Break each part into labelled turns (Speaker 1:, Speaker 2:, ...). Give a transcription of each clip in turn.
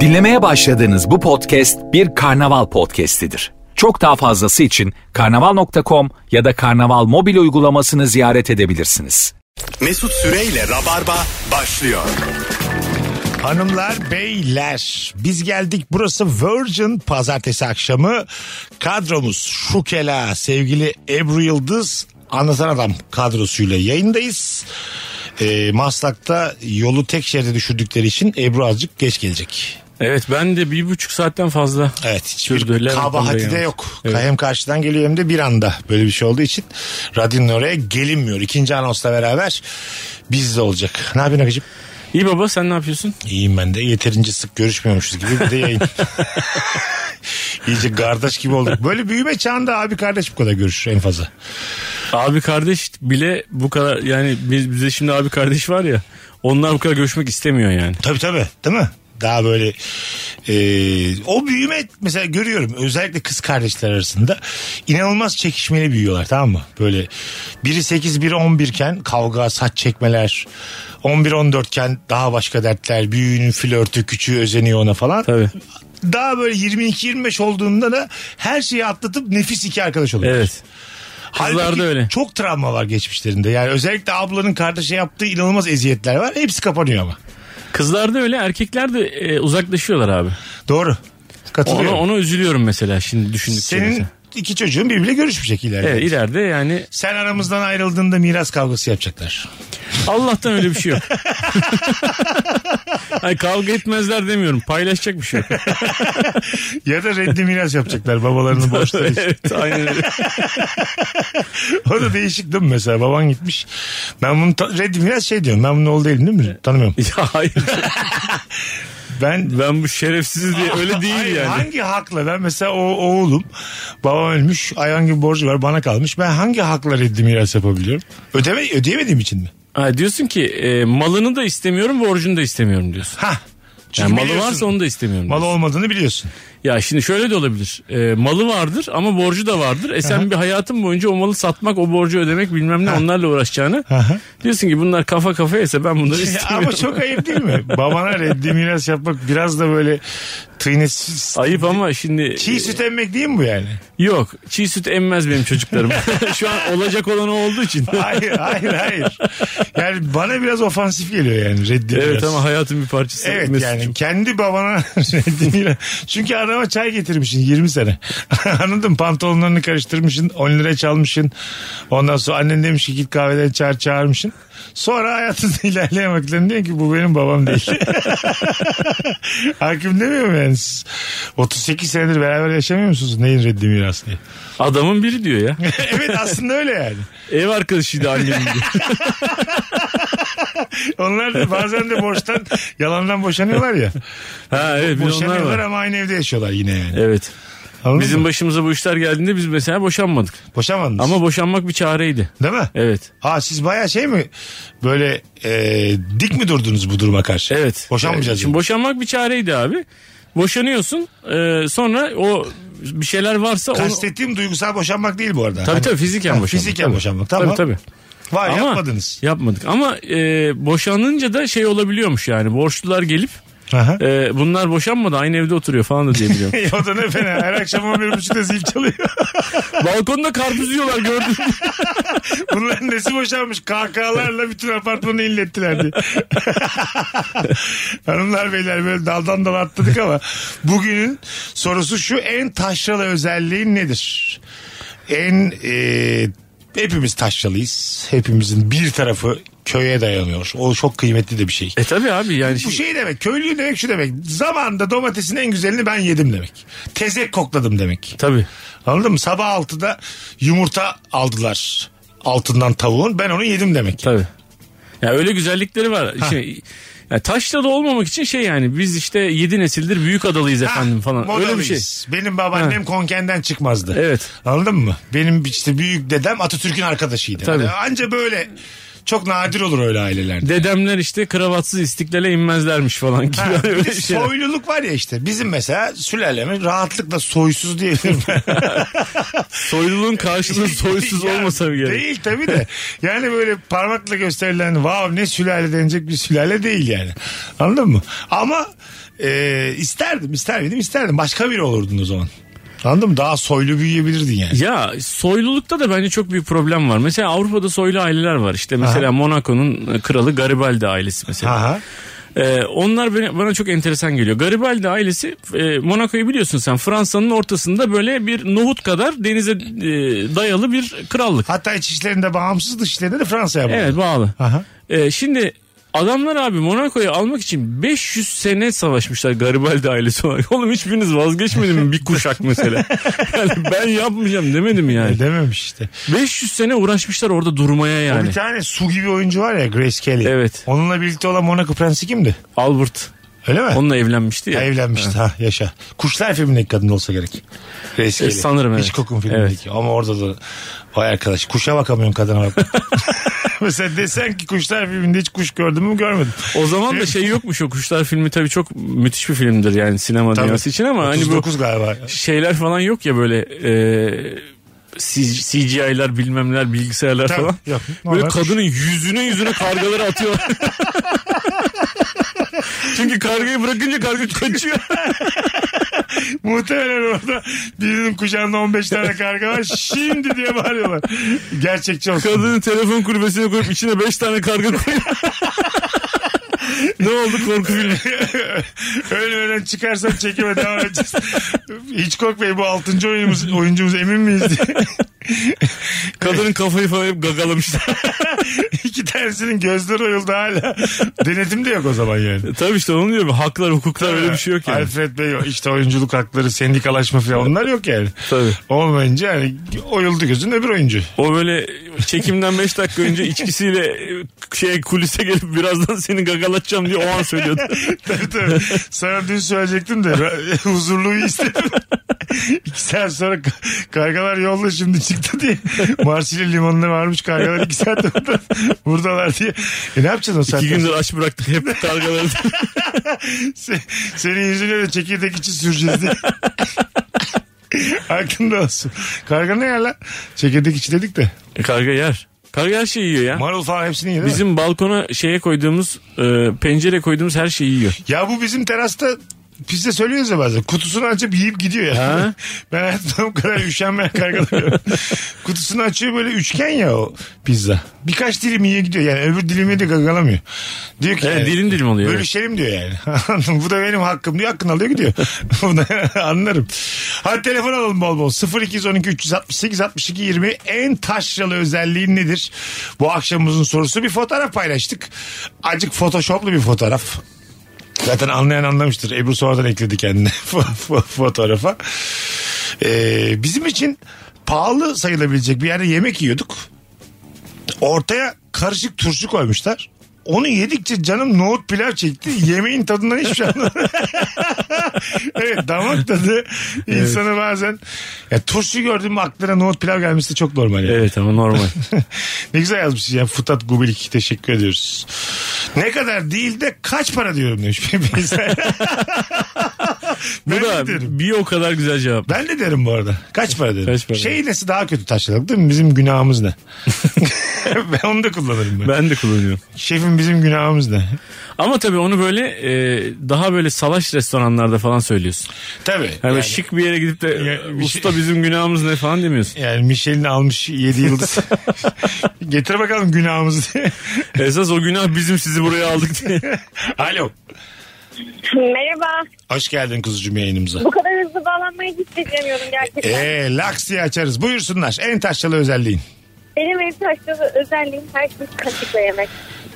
Speaker 1: Dinlemeye başladığınız bu podcast bir karnaval podcastidir. Çok daha fazlası için karnaval.com ya da karnaval mobil uygulamasını ziyaret edebilirsiniz.
Speaker 2: Mesut Süreyle Rabarba başlıyor.
Speaker 3: Hanımlar, beyler biz geldik. Burası Virgin pazartesi akşamı. Kadromuz Şukela, sevgili Ebru Yıldız, Anlatan Adam kadrosuyla yayındayız. Ee, Maslak'ta yolu tek şeride düşürdükleri için Ebru azıcık geç gelecek.
Speaker 4: Evet ben de bir buçuk saatten fazla.
Speaker 3: Evet hiçbir
Speaker 4: Sürdü, Levent'ten
Speaker 3: kabahati de
Speaker 4: dayanamadı.
Speaker 3: yok.
Speaker 4: Evet.
Speaker 3: Hem karşıdan geliyor hem de bir anda böyle bir şey olduğu için radyonun oraya gelinmiyor. İkinci anonsla beraber bizde olacak. Ne yapıyorsun Akıcım?
Speaker 4: İyi baba sen ne yapıyorsun?
Speaker 3: İyiyim ben de. Yeterince sık görüşmüyormuşuz gibi bir de yayın. İyice kardeş gibi olduk. Böyle büyüme çağında abi kardeş bu kadar görüşür en fazla.
Speaker 4: Abi kardeş bile bu kadar yani biz, bize şimdi abi kardeş var ya onlar bu kadar görüşmek istemiyor yani.
Speaker 3: Tabii tabii değil mi? Daha böyle e, o büyüme mesela görüyorum özellikle kız kardeşler arasında inanılmaz çekişmeli büyüyorlar tamam mı? Böyle biri 8 biri 11 iken kavga saç çekmeler 11 14 iken daha başka dertler büyüğünün flörtü küçüğü özeniyor ona falan.
Speaker 4: Tabii.
Speaker 3: Daha böyle 22-25 olduğunda da her şeyi atlatıp nefis iki arkadaş oluyor.
Speaker 4: Evet. Kızlarda öyle.
Speaker 3: çok travma var geçmişlerinde. Yani özellikle ablanın kardeşe yaptığı inanılmaz eziyetler var. Hepsi kapanıyor ama.
Speaker 4: Kızlar da öyle erkekler de e, uzaklaşıyorlar abi.
Speaker 3: Doğru.
Speaker 4: Ona,
Speaker 3: Katılıyorum.
Speaker 4: ona üzülüyorum mesela şimdi düşündükçe.
Speaker 3: Senin
Speaker 4: mesela.
Speaker 3: iki çocuğun birbiriyle görüşmeyecek ileride.
Speaker 4: Evet ileride yani
Speaker 3: Sen aramızdan ayrıldığında miras kavgası yapacaklar.
Speaker 4: Allah'tan öyle bir şey yok. Ay kavga etmezler demiyorum. Paylaşacak bir şey yok.
Speaker 3: Ya da reddi miras yapacaklar babalarının borçları için.
Speaker 4: evet aynen öyle.
Speaker 3: O da değişik değil mi mesela? Baban gitmiş. Ben bunu ta- reddi miras şey diyorum. Ben bunun oğlu değilim değil mi? Tanımıyorum.
Speaker 4: Ya hayır.
Speaker 3: Ben
Speaker 4: Ben bu şerefsiz diye öyle değil
Speaker 3: Hayır,
Speaker 4: yani.
Speaker 3: Hangi hakla? Ben mesela o oğlum babam ölmüş ayağın gibi borcu var bana kalmış. Ben hangi hakla reddi miras yapabiliyorum? Ödeme, ödeyemediğim için mi?
Speaker 4: Ha, diyorsun ki e, malını da istemiyorum borcunu da istemiyorum diyorsun.
Speaker 3: Ha.
Speaker 4: Yani malı
Speaker 3: biliyorsun,
Speaker 4: varsa onu da istemiyorum.
Speaker 3: Malı
Speaker 4: diyorsun.
Speaker 3: olmadığını biliyorsun.
Speaker 4: Ya şimdi şöyle de olabilir. E, malı vardır ama borcu da vardır. E sen bir hayatın boyunca o malı satmak, o borcu ödemek bilmem ne onlarla uğraşacağını.
Speaker 3: Aha.
Speaker 4: Diyorsun ki bunlar kafa kafaysa ben bunları istemiyorum.
Speaker 3: Ama çok ayıp değil mi? Babana reddi miras yapmak biraz da böyle tıynetsiz.
Speaker 4: Ayıp ama şimdi
Speaker 3: Çiğ süt emmek değil mi bu yani?
Speaker 4: yok çiğ süt emmez benim çocuklarım. Şu an olacak olan o olduğu için.
Speaker 3: Hayır hayır hayır. Yani bana biraz ofansif geliyor yani reddi
Speaker 4: evet
Speaker 3: miras.
Speaker 4: ama hayatın bir parçası.
Speaker 3: Evet
Speaker 4: Mesut'cum.
Speaker 3: yani kendi babana reddi miras. Çünkü adama çay getirmişsin 20 sene. Anladın mı? Pantolonlarını karıştırmışsın 10 lira çalmışsın. Ondan sonra annen demiş ki git kahveden çağır çağırmışsın. Sonra hayatında ilerleyen vakitlerinde diyor ki bu benim babam değil. Hakim demiyor mu yani siz 38 senedir beraber yaşamıyor musunuz? Neyin reddi miras diye.
Speaker 4: Adamın biri diyor ya.
Speaker 3: evet aslında öyle yani.
Speaker 4: Ev arkadaşıydı annemin diyor.
Speaker 3: Onlar da bazen de borçtan yalandan boşanıyorlar ya.
Speaker 4: Ha evet bir de onlar
Speaker 3: Boşanıyorlar
Speaker 4: var.
Speaker 3: ama aynı evde yaşıyorlar yine yani.
Speaker 4: Evet.
Speaker 3: Anladın
Speaker 4: Bizim
Speaker 3: mı?
Speaker 4: başımıza bu işler geldiğinde biz mesela boşanmadık.
Speaker 3: Boşamadınız.
Speaker 4: Ama boşanmak bir çareydi.
Speaker 3: Değil mi?
Speaker 4: Evet.
Speaker 3: Ha siz baya şey mi böyle e, dik mi durdunuz bu duruma karşı?
Speaker 4: Evet.
Speaker 3: Boşanmayacağız.
Speaker 4: Şimdi
Speaker 3: yani.
Speaker 4: boşanmak bir çareydi abi. Boşanıyorsun. e, sonra o bir şeyler varsa onu...
Speaker 3: Kastettiğim duygusal boşanmak değil bu arada. Hani
Speaker 4: Tabii tabii fiziken
Speaker 3: Ha,
Speaker 4: boşanmak.
Speaker 3: fiziken
Speaker 4: Tabii.
Speaker 3: boşanmak, tamam.
Speaker 4: Tabii tabii.
Speaker 3: Vay
Speaker 4: Ama-
Speaker 3: yapmadınız.
Speaker 4: Yapmadık. Ama e, boşanınca da şey olabiliyormuş yani. Borçlular gelip
Speaker 3: Aha.
Speaker 4: e, bunlar boşanmadı aynı evde oturuyor falan da diyebiliyorum.
Speaker 3: o da ne fena. Her akşam 11.30'da zil çalıyor.
Speaker 4: Balkonda karpuz yiyorlar gördüm.
Speaker 3: Bunların nesi boşanmış? Kahkahalarla bütün apartmanı inlettiler diye. Hanımlar beyler böyle daldan dala atladık ama bugünün sorusu şu en taşralı özelliğin nedir? En e, hepimiz taşralıyız. Hepimizin bir tarafı köye dayanıyor. O çok kıymetli de bir şey.
Speaker 4: e tabi abi yani.
Speaker 3: Bu
Speaker 4: şimdi-
Speaker 3: şey demek köylü demek şu demek. Zamanında domatesin en güzelini ben yedim demek. Tezek kokladım demek.
Speaker 4: Tabii.
Speaker 3: Anladın mı? Sabah 6'da yumurta aldılar altından tavuğun. Ben onu yedim demek.
Speaker 4: Tabii. Ya öyle güzellikleri var. Şey, ya taşla da olmamak için şey yani biz işte 7 nesildir büyük adalıyız
Speaker 3: Ha,
Speaker 4: efendim falan. Öyle bir şey.
Speaker 3: modalıyız. Benim babaannem konkenden çıkmazdı.
Speaker 4: Evet.
Speaker 3: Anladın mı? Benim işte büyük dedem Atatürk'ün arkadaşıydı.
Speaker 4: Tabii.
Speaker 3: Anca böyle Çok nadir olur öyle ailelerde.
Speaker 4: Dedemler işte kravatsız istiklale inmezlermiş falan gibi.
Speaker 3: Ha, bir de
Speaker 4: Öyle şeyler.
Speaker 3: soyluluk var ya işte. Bizim mesela sülalemiz rahatlıkla soysuz diyebilirim.
Speaker 4: Soyluluğun karşılığı soysuz
Speaker 3: Ya,
Speaker 4: olmasa bile. gerek.
Speaker 3: Değil tabii de. Yani böyle parmakla gösterilen vav ne sülale denecek bir sülale değil yani. Anladın mı? Ama e, isterdim ister miydim isterdim. Başka biri olurdun o zaman. Anladın mı? Daha soylu büyüyebilirdin yani.
Speaker 4: Ya soylulukta da bence çok büyük problem var. Mesela Avrupa'da soylu aileler var. İşte mesela Monaco'nun e, kralı Garibaldi ailesi mesela.
Speaker 3: Aha.
Speaker 4: Ee, onlar beni- bana çok enteresan geliyor. Garibaldi ailesi e, Monaco'yu biliyorsun sen. Fransa'nın ortasında böyle bir nohut kadar denize e, dayalı bir krallık.
Speaker 3: Hatta iç işlerinde bağımsız dış işlerinde de Fransa'ya bağlı.
Speaker 4: Evet bağlı.
Speaker 3: Aha.
Speaker 4: Ee, şimdi adamlar abi Monaco'yu almak için 500 sene savaşmışlar Garibaldi ailesi olarak. Oğlum hiçbiriniz vazgeçmedi mi bir kuşak mesela? yani ben yapmayacağım demedim yani.
Speaker 3: E, Dememiş işte.
Speaker 4: 500 sene uğraşmışlar orada durmaya
Speaker 3: O
Speaker 4: yani.
Speaker 3: Bir tane su gibi oyuncu var ya Grace Kelly.
Speaker 4: Evet.
Speaker 3: Onunla birlikte olan Monaco prensi kimdi?
Speaker 4: Albert
Speaker 3: Öyle mi?
Speaker 4: onunla evlenmişti ya.
Speaker 3: Ha, evlenmişti ha yaşa. Kuşlar filmindeki kadın olsa gerek. Reis
Speaker 4: E, sanırım, evet.
Speaker 3: Hitchcock'un filmindeki. Ama orada da vay arkadaş kuşa bakamıyorum kadına bak. Mesela desen ki kuşlar filminde hiç kuş gördün mü görmedim.
Speaker 4: O zaman da şey yokmuş o Kuşlar filmi tabii çok müthiş bir filmdir yani sinema
Speaker 3: Tabii.
Speaker 4: dünyası için ama hani bu
Speaker 3: 39 galiba.
Speaker 4: şeyler falan yok ya böyle e, CGI'ler bilmemler bilgisayarlar
Speaker 3: Tabii,
Speaker 4: falan.
Speaker 3: yok.
Speaker 4: Böyle
Speaker 3: Normal.
Speaker 4: kadının yüzüne yüzüne kargaları atıyor. Çünkü kargayı bırakınca karga kaçıyor.
Speaker 3: Muhtemelen orada birinin kucağında 15 tane karga var. Şimdi diye bağırıyorlar. Gerçekçi olsun.
Speaker 4: Kadını telefon kulübesine koyup içine 5 tane karga koyuyor. ne oldu korku filmi?
Speaker 3: Ölmeden çıkarsan çekime devam edeceğiz. Hiç korkmayın bu 6. oyuncumuz, oyuncumuz emin miyiz diye.
Speaker 4: Kadının kafayı falan hep gagalamışlar.
Speaker 3: İki tanesinin gözleri oyuldu hala. Denetim de yok o zaman yani.
Speaker 4: Tabii işte onu diyorum. Haklar, hukuklar öyle bir şey yok yani.
Speaker 3: Alfred Bey işte oyunculuk hakları, sendikalaşma falan onlar yok yani.
Speaker 4: Tabii.
Speaker 3: Olmayınca yani oyuldu gözün öbür oyuncu.
Speaker 4: O böyle çekimden 5 dakika önce içkisiyle e, şey kulise gelip birazdan seni gagalatacağım diye o an söylüyordu.
Speaker 3: Tabii tabii. Sana dün söyleyecektim de ra- huzurluyu istedim. iki saat sonra ka- kargalar yolda şimdi çıktı diye. Marsilya limanına varmış kargalar iki saat orada buradalar diye. E ne yapacaksın o saatten?
Speaker 4: İki gündür aç bıraktık hep kargaları.
Speaker 3: Se- senin yüzüne de çekirdek içi süreceğiz diye. Aklında olsun. Karga ne yer lan? Çekirdek içi dedik de.
Speaker 4: E, Karga yer. Karga her şeyi yiyor ya.
Speaker 3: Marul falan hepsini yedi.
Speaker 4: Bizim balkona şeye koyduğumuz e, pencere koyduğumuz her şeyi yiyor.
Speaker 3: Ya bu bizim terasta biz de söylüyoruz ya bazen. Kutusunu açıp yiyip gidiyor ya.
Speaker 4: Ha?
Speaker 3: Ben hayatımda bu kadar üşenmeyen kargalıyorum. Kutusunu açıyor böyle üçgen ya o pizza. Birkaç dilim yiyor gidiyor yani öbür dilimi de gagalamıyor. Diyor ki
Speaker 4: Evet,
Speaker 3: yani,
Speaker 4: dilim dilim oluyor. evet.
Speaker 3: Bölüşelim diyor yani. Anladın mı? bu da benim hakkım diyor. Hakkını alıyor gidiyor. Bunu anlarım. Hadi telefon alalım bol bol. 0212 368 62 20 en taşralı özelliğin nedir? Bu akşamımızın sorusu bir fotoğraf paylaştık. Acık photoshoplu bir fotoğraf. Zaten anlayan anlamıştır. Ebru sonradan ekledi kendine fo- fo- fotoğrafa. Ee, bizim için pahalı sayılabilecek bir yerde yemek yiyorduk. Ortaya karışık turşu koymuşlar. Onu yedikçe canım nohut pilav çekti. Yemeğin tadından hiçbir şey anlamadım. evet damak tadı insanı bazen. Ya, turşu gördüm mü aklına nohut pilav gelmesi de çok normal. Yani.
Speaker 4: Evet ama normal.
Speaker 3: ne güzel yazmışsın ya Futat Gubilik teşekkür ediyoruz. Ne kadar değil de kaç para diyorum demiş. ben,
Speaker 4: Bu
Speaker 3: de
Speaker 4: da
Speaker 3: derim.
Speaker 4: bir o kadar güzel cevap.
Speaker 3: ben de derim bu arada. Kaç para derim.
Speaker 4: Kaç para?
Speaker 3: şey nesi daha kötü taşladık değil mi? Bizim günahımız ne? ben onu da kullanırım ben.
Speaker 4: Ben de kullanıyorum.
Speaker 3: Şefim bizim günahımız ne?
Speaker 4: Ama tabii onu böyle e, daha böyle salaş restoranlarda falan söylüyorsun.
Speaker 3: Tabii.
Speaker 4: Yani,
Speaker 3: Yani,
Speaker 4: şık bir şey- yere gidip de
Speaker 3: Ya, bir
Speaker 4: usta bizim günahımız ne falan demiyorsun.
Speaker 3: yani Michelin almış 7 yıldız. Getir bakalım günahımızı diye.
Speaker 4: Esas o günah bizim sizi buraya aldık diye.
Speaker 3: Alo.
Speaker 5: Merhaba.
Speaker 3: Hoş geldin kuzucuğum yayınımıza.
Speaker 5: Bu kadar hızlı bağlanmayı hiç beklemiyordum gerçekten.
Speaker 3: Eee laks diye açarız. Buyursunlar. En taşralı özelliğin.
Speaker 5: Benim en taşlı özelliğim her şeyi kaşıkla yemek.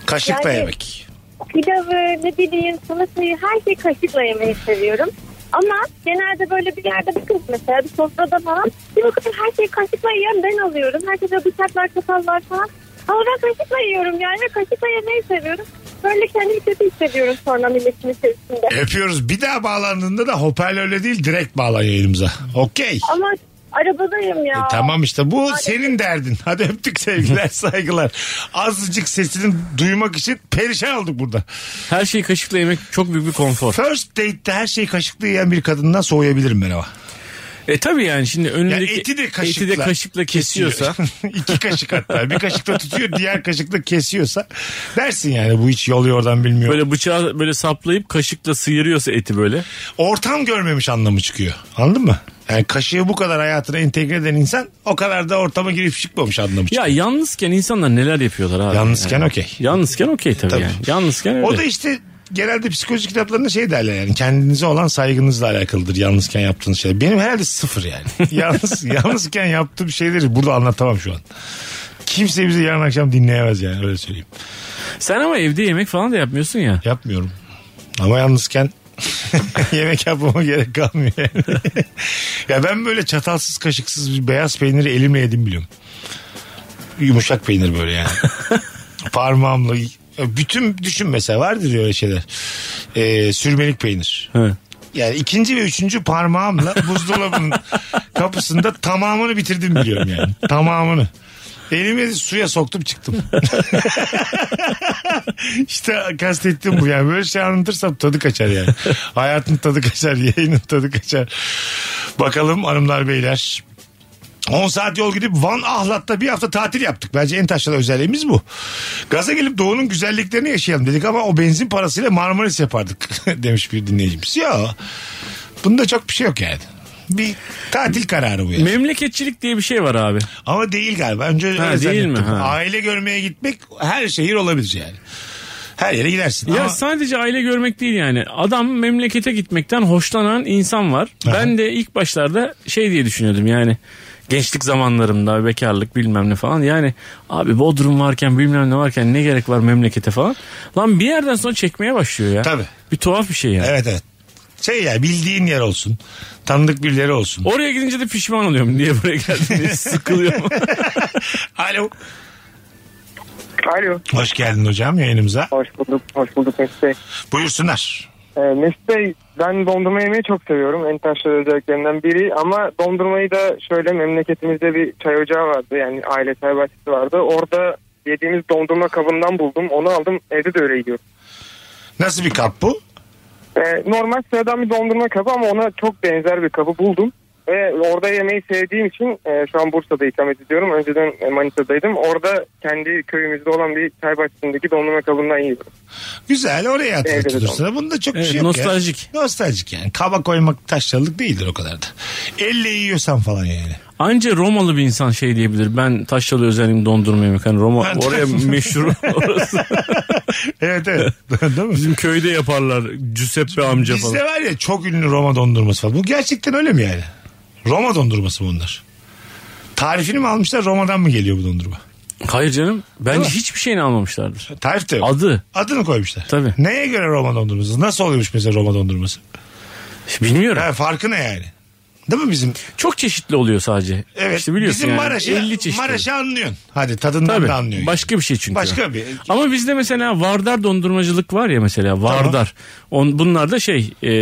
Speaker 3: Kaşıkla
Speaker 5: Yani-
Speaker 3: yemek.
Speaker 5: Pilavı, ne bileyim, salatayı her şeyi kaşıkla yemeyi seviyorum. Ama genelde böyle bir yerde bir kız mesela bir sofrada falan bir bakın her şeyi kaşıkla yiyen ben alıyorum. Herkes böyle bıçaklar, çatallar falan. Ama ben kaşıkla yiyorum yani ve kaşıkla yemeyi seviyorum. Böyle kendimi kötü hissediyorum sonra milletin
Speaker 3: E?
Speaker 5: içerisinde.
Speaker 3: Öpüyoruz. Bir daha bağlandığında da hoparlörle değil direkt bağlan yayınımıza. Okey.
Speaker 5: Ama Arabadayım ya.
Speaker 3: E, tamam işte bu senin derdin. Hadi öptük sevgiler saygılar. Azıcık sesini duymak için perişan olduk burada.
Speaker 4: Her şeyi kaşıkla yemek çok büyük bir konfor.
Speaker 3: First date'te her şeyi kaşıklı yiyen bir kadından soğuyabilirim ben ama.
Speaker 4: E tabi yani şimdi önündeki
Speaker 3: Ya eti de kaşıkla,
Speaker 4: eti de kaşıkla kesiyorsa
Speaker 3: İki kaşık hatta. Bir kaşıkla tutuyor diğer kaşıkla kesiyorsa dersin yani bu hiç yolu oradan bilmiyor.
Speaker 4: böyle bıçağı böyle saplayıp kaşıkla sıyırıyorsa eti böyle.
Speaker 3: Ortam görmemiş anlamı çıkıyor. Anladın mı? Yani kaşığı bu kadar hayatına entegre eden insan o kadar da ortama girip çıkmamış anlamı çıkıyor.
Speaker 4: Ya yalnızken insanlar neler yapıyorlar abi.
Speaker 3: Yalnızken
Speaker 4: Yani.
Speaker 3: okey.
Speaker 4: Yalnızken okey tabii,
Speaker 3: Tabii.
Speaker 4: yani. Yalnızken öyle.
Speaker 3: O da işte genelde psikoloji kitaplarında şey derler yani kendinize olan saygınızla alakalıdır yalnızken yaptığınız şeyler. Benim herhalde sıfır yani. Yalnız, yalnızken yaptığım şeyleri burada anlatamam şu an. Kimse bizi yarın akşam dinleyemez yani öyle söyleyeyim.
Speaker 4: Sen ama evde yemek falan da yapmıyorsun ya.
Speaker 3: Yapmıyorum. Ama yalnızken yemek yapmama gerek kalmıyor yani. ya ben böyle çatalsız kaşıksız bir beyaz peyniri elimle yedim biliyorum. Yumuşak peynir böyle yani. Parmağımla bütün düşün mesela vardır ya öyle şeyler. Ee, sürmelik peynir.
Speaker 4: He.
Speaker 3: Yani ikinci ve üçüncü parmağımla buzdolabının kapısında tamamını bitirdim biliyorum yani. Tamamını. Elimi suya soktum çıktım. işte kastettim bu yani. Böyle şey anlatırsam tadı kaçar yani. Hayatın tadı kaçar, yayının tadı kaçar. Bakalım hanımlar beyler. 10 saat yol gidip Van Ahlat'ta bir hafta tatil yaptık. Bence en taşralı özelliğimiz bu. Gaza gelip doğunun güzelliklerini yaşayalım dedik ama o benzin parasıyla Marmaris yapardık demiş bir dinleyicimiz. Ya bunda çok bir şey yok yani. Bir tatil kararı bu yani.
Speaker 4: Memleketçilik diye bir şey var abi.
Speaker 3: Ama değil galiba. Önce
Speaker 4: Ha,
Speaker 3: öyle
Speaker 4: değil
Speaker 3: zannettim.
Speaker 4: mi? Ha.
Speaker 3: Aile görmeye gitmek her şehir olabilir yani. Her yere gidersin.
Speaker 4: Ya
Speaker 3: Ama
Speaker 4: sadece aile görmek değil yani. Adam memlekete gitmekten hoşlanan insan var. Ben de ilk başlarda şey diye düşünüyordum yani. Gençlik zamanlarımda bekarlık bilmem ne falan. Yani abi Bodrum varken bilmem ne varken ne gerek var memlekete falan. Lan bir yerden sonra çekmeye başlıyor ya.
Speaker 3: Tabii.
Speaker 4: Bir tuhaf bir şey yani.
Speaker 3: Evet evet. Şey ya bildiğin yer olsun. Tanıdık birileri olsun.
Speaker 4: Oraya gidince de pişman oluyorum. Niye buraya geldim diye sıkılıyorum.
Speaker 3: Alo.
Speaker 6: Alo.
Speaker 3: Hoş geldin hocam yayınımıza.
Speaker 6: Hoş bulduk. Hoş bulduk Mesut Bey.
Speaker 3: Buyursunlar.
Speaker 6: Ee, Mesut Bey ben dondurma yemeyi çok seviyorum. En taşlı özelliklerinden biri. Ama dondurmayı da şöyle memleketimizde bir çay ocağı vardı. Yani aile çay bahçesi vardı. Orada yediğimiz dondurma kabından buldum. Onu aldım. Evde de öyle yiyorum.
Speaker 3: Nasıl bir kap bu?
Speaker 6: Ee, normal sıradan bir dondurma kabı ama ona çok benzer bir kabı buldum. Ve orada yemeği sevdiğim için e, şu an Bursa'da ikamet ediyorum. Önceden e, Manisa'daydım. Orada kendi köyümüzde olan bir çay bahçesindeki dondurma kabından yiyorum.
Speaker 3: Güzel oraya
Speaker 6: Evet, evet,
Speaker 3: hatırlatılır sana. Bunda çok bir
Speaker 4: Evet,
Speaker 3: şey yok ya.
Speaker 4: nostaljik.
Speaker 3: Nostaljik yani. Kaba koymak taşralık değildir o kadar da. Elle yiyorsan falan yani.
Speaker 4: Anca Romalı bir insan şey diyebilir. Ben taşralı özelliğim dondurma yemek. Hani Roma
Speaker 3: Ben-
Speaker 4: oraya meşhur orası.
Speaker 3: Evet evet. Değil mi?
Speaker 4: Bizim köyde yaparlar. Giuseppe amca falan.
Speaker 3: Bizde var ya çok ünlü Roma dondurması falan. Bu gerçekten öyle mi yani? Roma dondurması mı bunlar? Tarifini mi almışlar Roma'dan mı geliyor bu dondurma?
Speaker 4: Hayır canım. Bence hiçbir şeyini almamışlardır.
Speaker 3: Tarif de yok.
Speaker 4: Adı.
Speaker 3: Adını koymuşlar.
Speaker 4: Tabii.
Speaker 3: Neye göre Roma dondurması? Nasıl oluyormuş mesela Roma dondurması?
Speaker 4: Bilmiyorum.
Speaker 3: Ha, farkı ne yani? Değil mi bizim?
Speaker 4: Çok çeşitli oluyor sadece.
Speaker 3: Evet.
Speaker 4: İşte biliyorsun
Speaker 3: bizim
Speaker 4: yani.
Speaker 3: Maraş'ı,
Speaker 4: 50 çeşitli.
Speaker 3: Maraş'ı anlıyorsun. Hadi tadından
Speaker 4: Tabii.
Speaker 3: da anlıyorsun.
Speaker 4: Başka bir şey çünkü.
Speaker 3: Başka bir.
Speaker 4: Ama bizde mesela Vardar dondurmacılık var ya mesela Vardar. On, bunlar da şey e,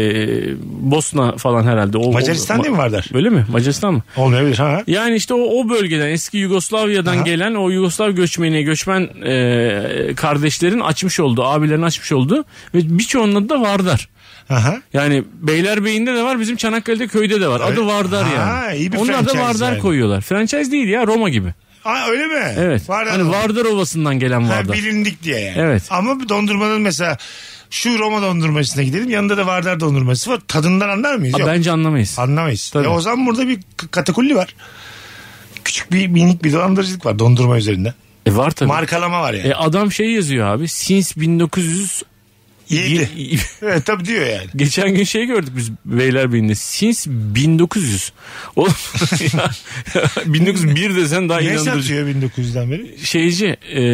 Speaker 4: Bosna falan herhalde. O,
Speaker 3: Macaristan
Speaker 4: o-
Speaker 3: değil mi Vardar?
Speaker 4: Öyle mi? Macaristan mı?
Speaker 3: Olmayabilir ha.
Speaker 4: Yani işte o, o bölgeden eski Yugoslavya'dan
Speaker 3: Aha.
Speaker 4: gelen o Yugoslav göçmeni göçmen e, kardeşlerin açmış olduğu abilerin açmış olduğu ve birçoğunun adı da Vardar.
Speaker 3: Aha.
Speaker 4: Yani Beylerbeyi'nde de var bizim Çanakkale'de köyde de var. Adı Vardar
Speaker 3: Ha, iyi
Speaker 4: yani.
Speaker 3: bir
Speaker 4: Onlar da
Speaker 3: franchise
Speaker 4: Vardar
Speaker 3: yani.
Speaker 4: koyuyorlar. Franchise değil ya Roma gibi.
Speaker 3: Aa, öyle mi?
Speaker 4: Evet.
Speaker 3: Var
Speaker 4: hani Vardar Ovası'ndan gelen
Speaker 3: Ha,
Speaker 4: Vardar.
Speaker 3: bilindik diye yani.
Speaker 4: Evet.
Speaker 3: Ama bu dondurmanın mesela şu Roma dondurmasına gidelim yanında da Vardar dondurması var. Tadından anlar mıyız?
Speaker 4: Aa,
Speaker 3: Yok.
Speaker 4: bence anlamayız.
Speaker 3: Anlamayız.
Speaker 4: Tabii.
Speaker 3: E o zaman burada bir k- katakulli var. Küçük bir minik bir dolandırıcılık var dondurma üzerinde.
Speaker 4: E var tabii.
Speaker 3: Markalama var yani.
Speaker 4: E adam şey yazıyor abi. Since 1900
Speaker 3: Yedi. evet tabii diyor yani.
Speaker 4: Geçen gün şey gördük biz Beylerbeyi'nde. Since 1900. Oğlum ya, 1901 desen daha
Speaker 3: Ne
Speaker 4: inandırıcı.
Speaker 3: satıyor 1900'den beri?
Speaker 4: Şeyci e,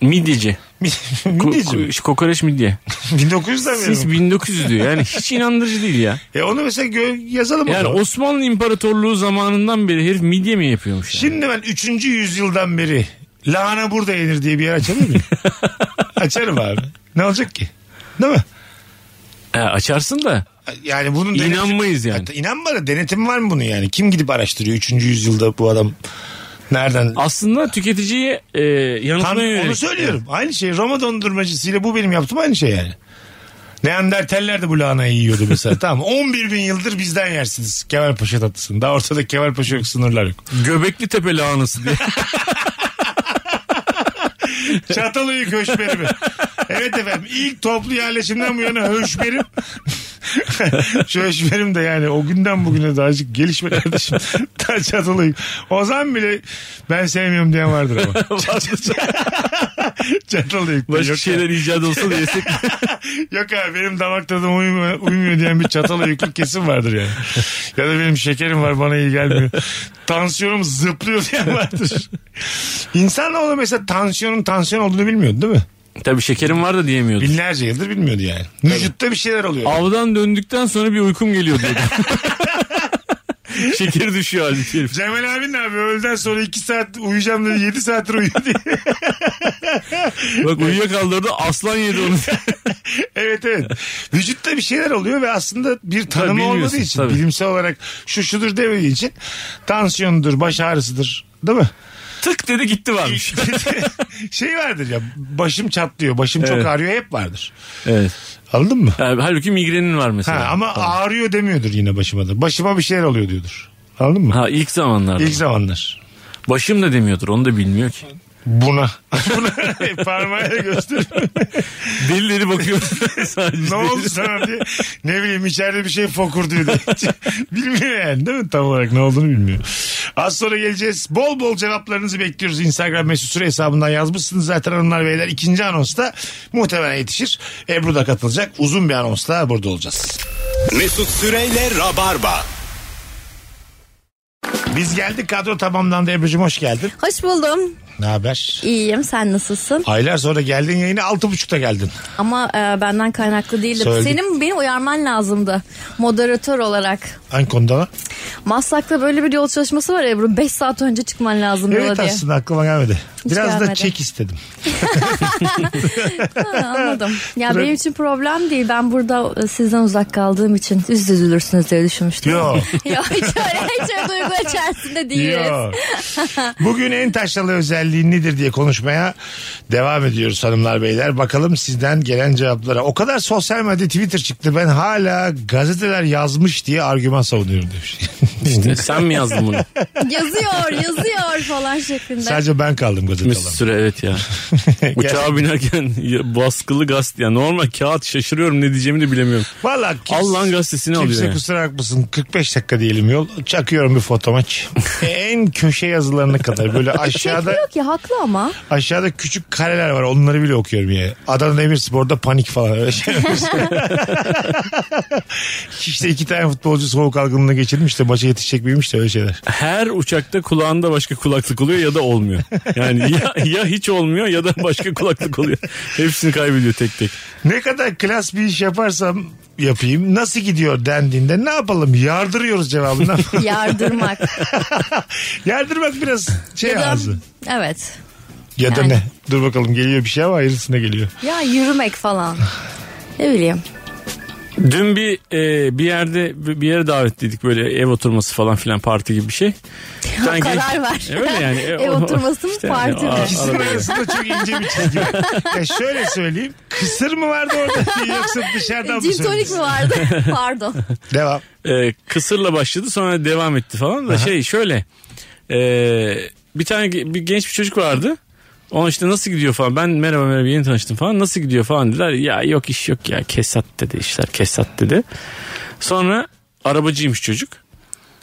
Speaker 4: midyeci. Ko-
Speaker 3: Mideci mi?
Speaker 4: ko- kokoreç midye.
Speaker 3: 1900'den beri
Speaker 4: Since
Speaker 3: mi?
Speaker 4: 1900 diyor. Yani hiç inandırıcı değil ya.
Speaker 3: E onu mesela gö- yazalım.
Speaker 4: Yani
Speaker 3: o...
Speaker 4: Osmanlı İmparatorluğu zamanından beri herif midye mi yapıyormuş yani?
Speaker 3: Şimdi ben 3. yüzyıldan beri lahana burada yenir diye bir yer açabilir miyim? Açarım abi. Ne olacak ki? Değil mi?
Speaker 4: He, açarsın da
Speaker 3: Yani bunun
Speaker 4: İnanmayız yani.
Speaker 3: Hatta İnan bana denetim var mı bunun yani? Kim gidip araştırıyor 3. yüzyılda bu adam nereden?
Speaker 4: Aslında tüketiciyi e,
Speaker 3: Tam
Speaker 4: yanıltmaya
Speaker 3: onu
Speaker 4: yönelik.
Speaker 3: söylüyorum. Aynı şey Roma dondurmacısıyla bu benim yaptığım aynı şey yani. Neandertaller de bu lahanayı yiyordu mesela. tamam 11 bin yıldır bizden yersiniz. Kemalpaşa tatlısını. Daha ortada Kemalpaşa yok sınırlar yok.
Speaker 4: Göbekli Tepe lahanası diye.
Speaker 3: Çatalhöyük höşberimi. Evet efendim ilk toplu yerleşimden bu yana höşberim. Şu höşberim de yani o günden bugüne de azıcık gelişme kardeşim. Daha Çatalhöyük. Ozan bile ben sevmiyorum diyen vardır ama. Çatalhöyük. de
Speaker 4: Başka
Speaker 3: yok
Speaker 4: şeyler icat olsa da yesek.
Speaker 3: Yok abi benim damak tadım uymuyor, uymuyor diyen bir çatala yüklük kesim vardır yani. ya da benim şekerim var bana iyi gelmiyor. Tansiyonum zıplıyor diyen vardır. İnsanoğlu mesela tansiyonun tansiyon olduğunu bilmiyordu değil mi?
Speaker 4: Tabii şekerim var da diyemiyordu.
Speaker 3: Binlerce yıldır bilmiyordu yani. Vücutta bir şeyler oluyor.
Speaker 4: Avdan döndükten sonra bir uykum geliyor diyordu. Şeker düşüyor halbuki herif.
Speaker 3: Cemal abin ne abi öğleden sonra 2 saat uyuyacağım dedi 7 saattir uyuyor diye.
Speaker 4: Bak uyuyakaldı da aslan yedi onu.
Speaker 3: evet evet. Vücutta bir şeyler oluyor ve aslında bir tanımı olmadığı
Speaker 4: bilmiyorsun,
Speaker 3: için
Speaker 4: tabii.
Speaker 3: bilimsel olarak şu şudur demediği için tansiyonudur, baş ağrısıdır. Değil mi?
Speaker 4: Tık dedi gitti varmış.
Speaker 3: şey vardır ya başım çatlıyor başım çok
Speaker 4: Evet.
Speaker 3: ağrıyor hep vardır.
Speaker 4: evet.
Speaker 3: Anladın mı?
Speaker 4: Yani halbuki migrenin var
Speaker 3: Ha,
Speaker 4: mesela. Ha,
Speaker 3: ama ağrıyor demiyordur yine başıma da. Başıma bir şeyler oluyor diyordur. Anladın mı?
Speaker 4: ilk zamanlarda.
Speaker 3: İlk zamanlar.
Speaker 4: Başım da demiyordur onu da bilmiyor ki.
Speaker 3: Buna. Buna parmağıyla göster.
Speaker 4: Deli deli bakıyor. Sadece
Speaker 3: ne oldu sana diye. Ne bileyim içeride bir şey fokur diyor. diye. bilmiyor yani değil mi? Tam olarak ne olduğunu bilmiyor. Az sonra geleceğiz. Bol bol cevaplarınızı bekliyoruz. Instagram mesut süre hesabından yazmışsınız zaten hanımlar beyler. ikinci anonsta muhtemelen yetişir. Ebru da katılacak. Uzun bir anonsla burada olacağız.
Speaker 2: Mesut Süreyle Rabarba.
Speaker 3: Biz geldik kadro tamamlandı Ebru'cum hoş geldin.
Speaker 7: Hoş buldum.
Speaker 3: Ne haber?
Speaker 7: İyiyim. Sen nasılsın?
Speaker 3: Aylar sonra geldin yayına altı buçukta geldin.
Speaker 7: Ama e, benden kaynaklı değilim.
Speaker 3: Söyledik.
Speaker 7: Senin beni uyarman lazımdı. Moderatör olarak.
Speaker 3: Hangi konuda lan?
Speaker 7: Maslak'ta böyle bir yol çalışması var Ebru. 5 saat önce çıkman lazım yola
Speaker 3: Evet
Speaker 7: diye.
Speaker 3: aslında aklıma gelmedi.
Speaker 7: Hiç
Speaker 3: Biraz da
Speaker 7: gelmedi.
Speaker 3: çek istedim.
Speaker 7: Ha, anladım. Ya benim için problem değil. Ben burada e, sizden uzak kaldığım için üz üzülürsünüz diye düşünmüştüm.
Speaker 3: Yo.
Speaker 7: Yok hiç öyle, hiç öyle duygu içerisinde değiliz.
Speaker 3: Yo. Bugün en taşralı özelliği nedir diye konuşmaya devam ediyoruz hanımlar beyler. Bakalım sizden gelen cevaplara. O kadar sosyal medya Twitter çıktı ben hala gazeteler yazmış diye argüman savunuyorum demiş.
Speaker 4: işte sen mi yazdın bunu?
Speaker 7: Yazıyor yazıyor falan şeklinde.
Speaker 3: Sadece ben kaldım gazete
Speaker 4: Bir
Speaker 3: olan.
Speaker 4: süre evet ya. Uçağa binerken ya, baskılı gazete. Yani normal kağıt şaşırıyorum ne diyeceğimi de bilemiyorum.
Speaker 3: Valla
Speaker 4: Al lan gazetesini alıyor
Speaker 3: Kimse
Speaker 4: yani.
Speaker 3: kusura bakmasın 45 dakika diyelim yol. Çakıyorum bir fotomaç. en köşe yazılarına kadar böyle aşağıda
Speaker 7: Çekmiyor ki haklı ama.
Speaker 3: aşağıda küçük kareler var. Onları bile okuyorum yani. Adana Demirspor'da panik falan öyle şey şeyler. işte iki tane futbolcu soğuk algınlığına geçirmiş de maça yetişecek miymiş de öyle şeyler.
Speaker 4: Her uçakta kulağında başka kulaklık oluyor ya da olmuyor. Yani ya, ya hiç olmuyor ya da başka kulaklık oluyor. Hepsini kaybediyor tek tek.
Speaker 3: Ne kadar klas bir iş yaparsam yapayım nasıl gidiyor dendiğinde ne yapalım yardırıyoruz cevabından.
Speaker 7: Yardırmak.
Speaker 3: Yardırmak biraz şey
Speaker 7: Ya da-
Speaker 3: ağzı.
Speaker 7: evet.
Speaker 3: Ya da
Speaker 7: Yani.
Speaker 3: ne? Dur bakalım geliyor bir şey ama ayrısına geliyor.
Speaker 7: Ya yürümek falan. Ne bileyim.
Speaker 4: Dün bir e, bir yerde bir yere davetliydik böyle ev oturması falan filan parti gibi bir şey. Bir tane genç-
Speaker 7: Karar ver.
Speaker 4: E, Öyle yani. E,
Speaker 7: Ev
Speaker 4: o-
Speaker 7: oturması mı,
Speaker 4: yani
Speaker 7: parti mi?
Speaker 4: a-
Speaker 3: İkisinin
Speaker 4: arada-
Speaker 3: arasında çok ince bir çizgi var. Ya şöyle söyleyeyim. Kısır mı vardı orada yoksa dışarıdan mı
Speaker 7: Cin tonik
Speaker 3: söylediniz?
Speaker 7: mi vardı? Pardon.
Speaker 3: Devam.
Speaker 4: e, kısırla başladı sonra devam etti falan da şey şöyle e, bir tane ge- bir genç bir çocuk vardı. Ona işte nasıl gidiyor falan ben merhaba merhaba yeni tanıştım falan nasıl gidiyor falan dediler. Ya yok iş yok ya kesat dedi işler kesat dedi. Sonra arabacıymış çocuk.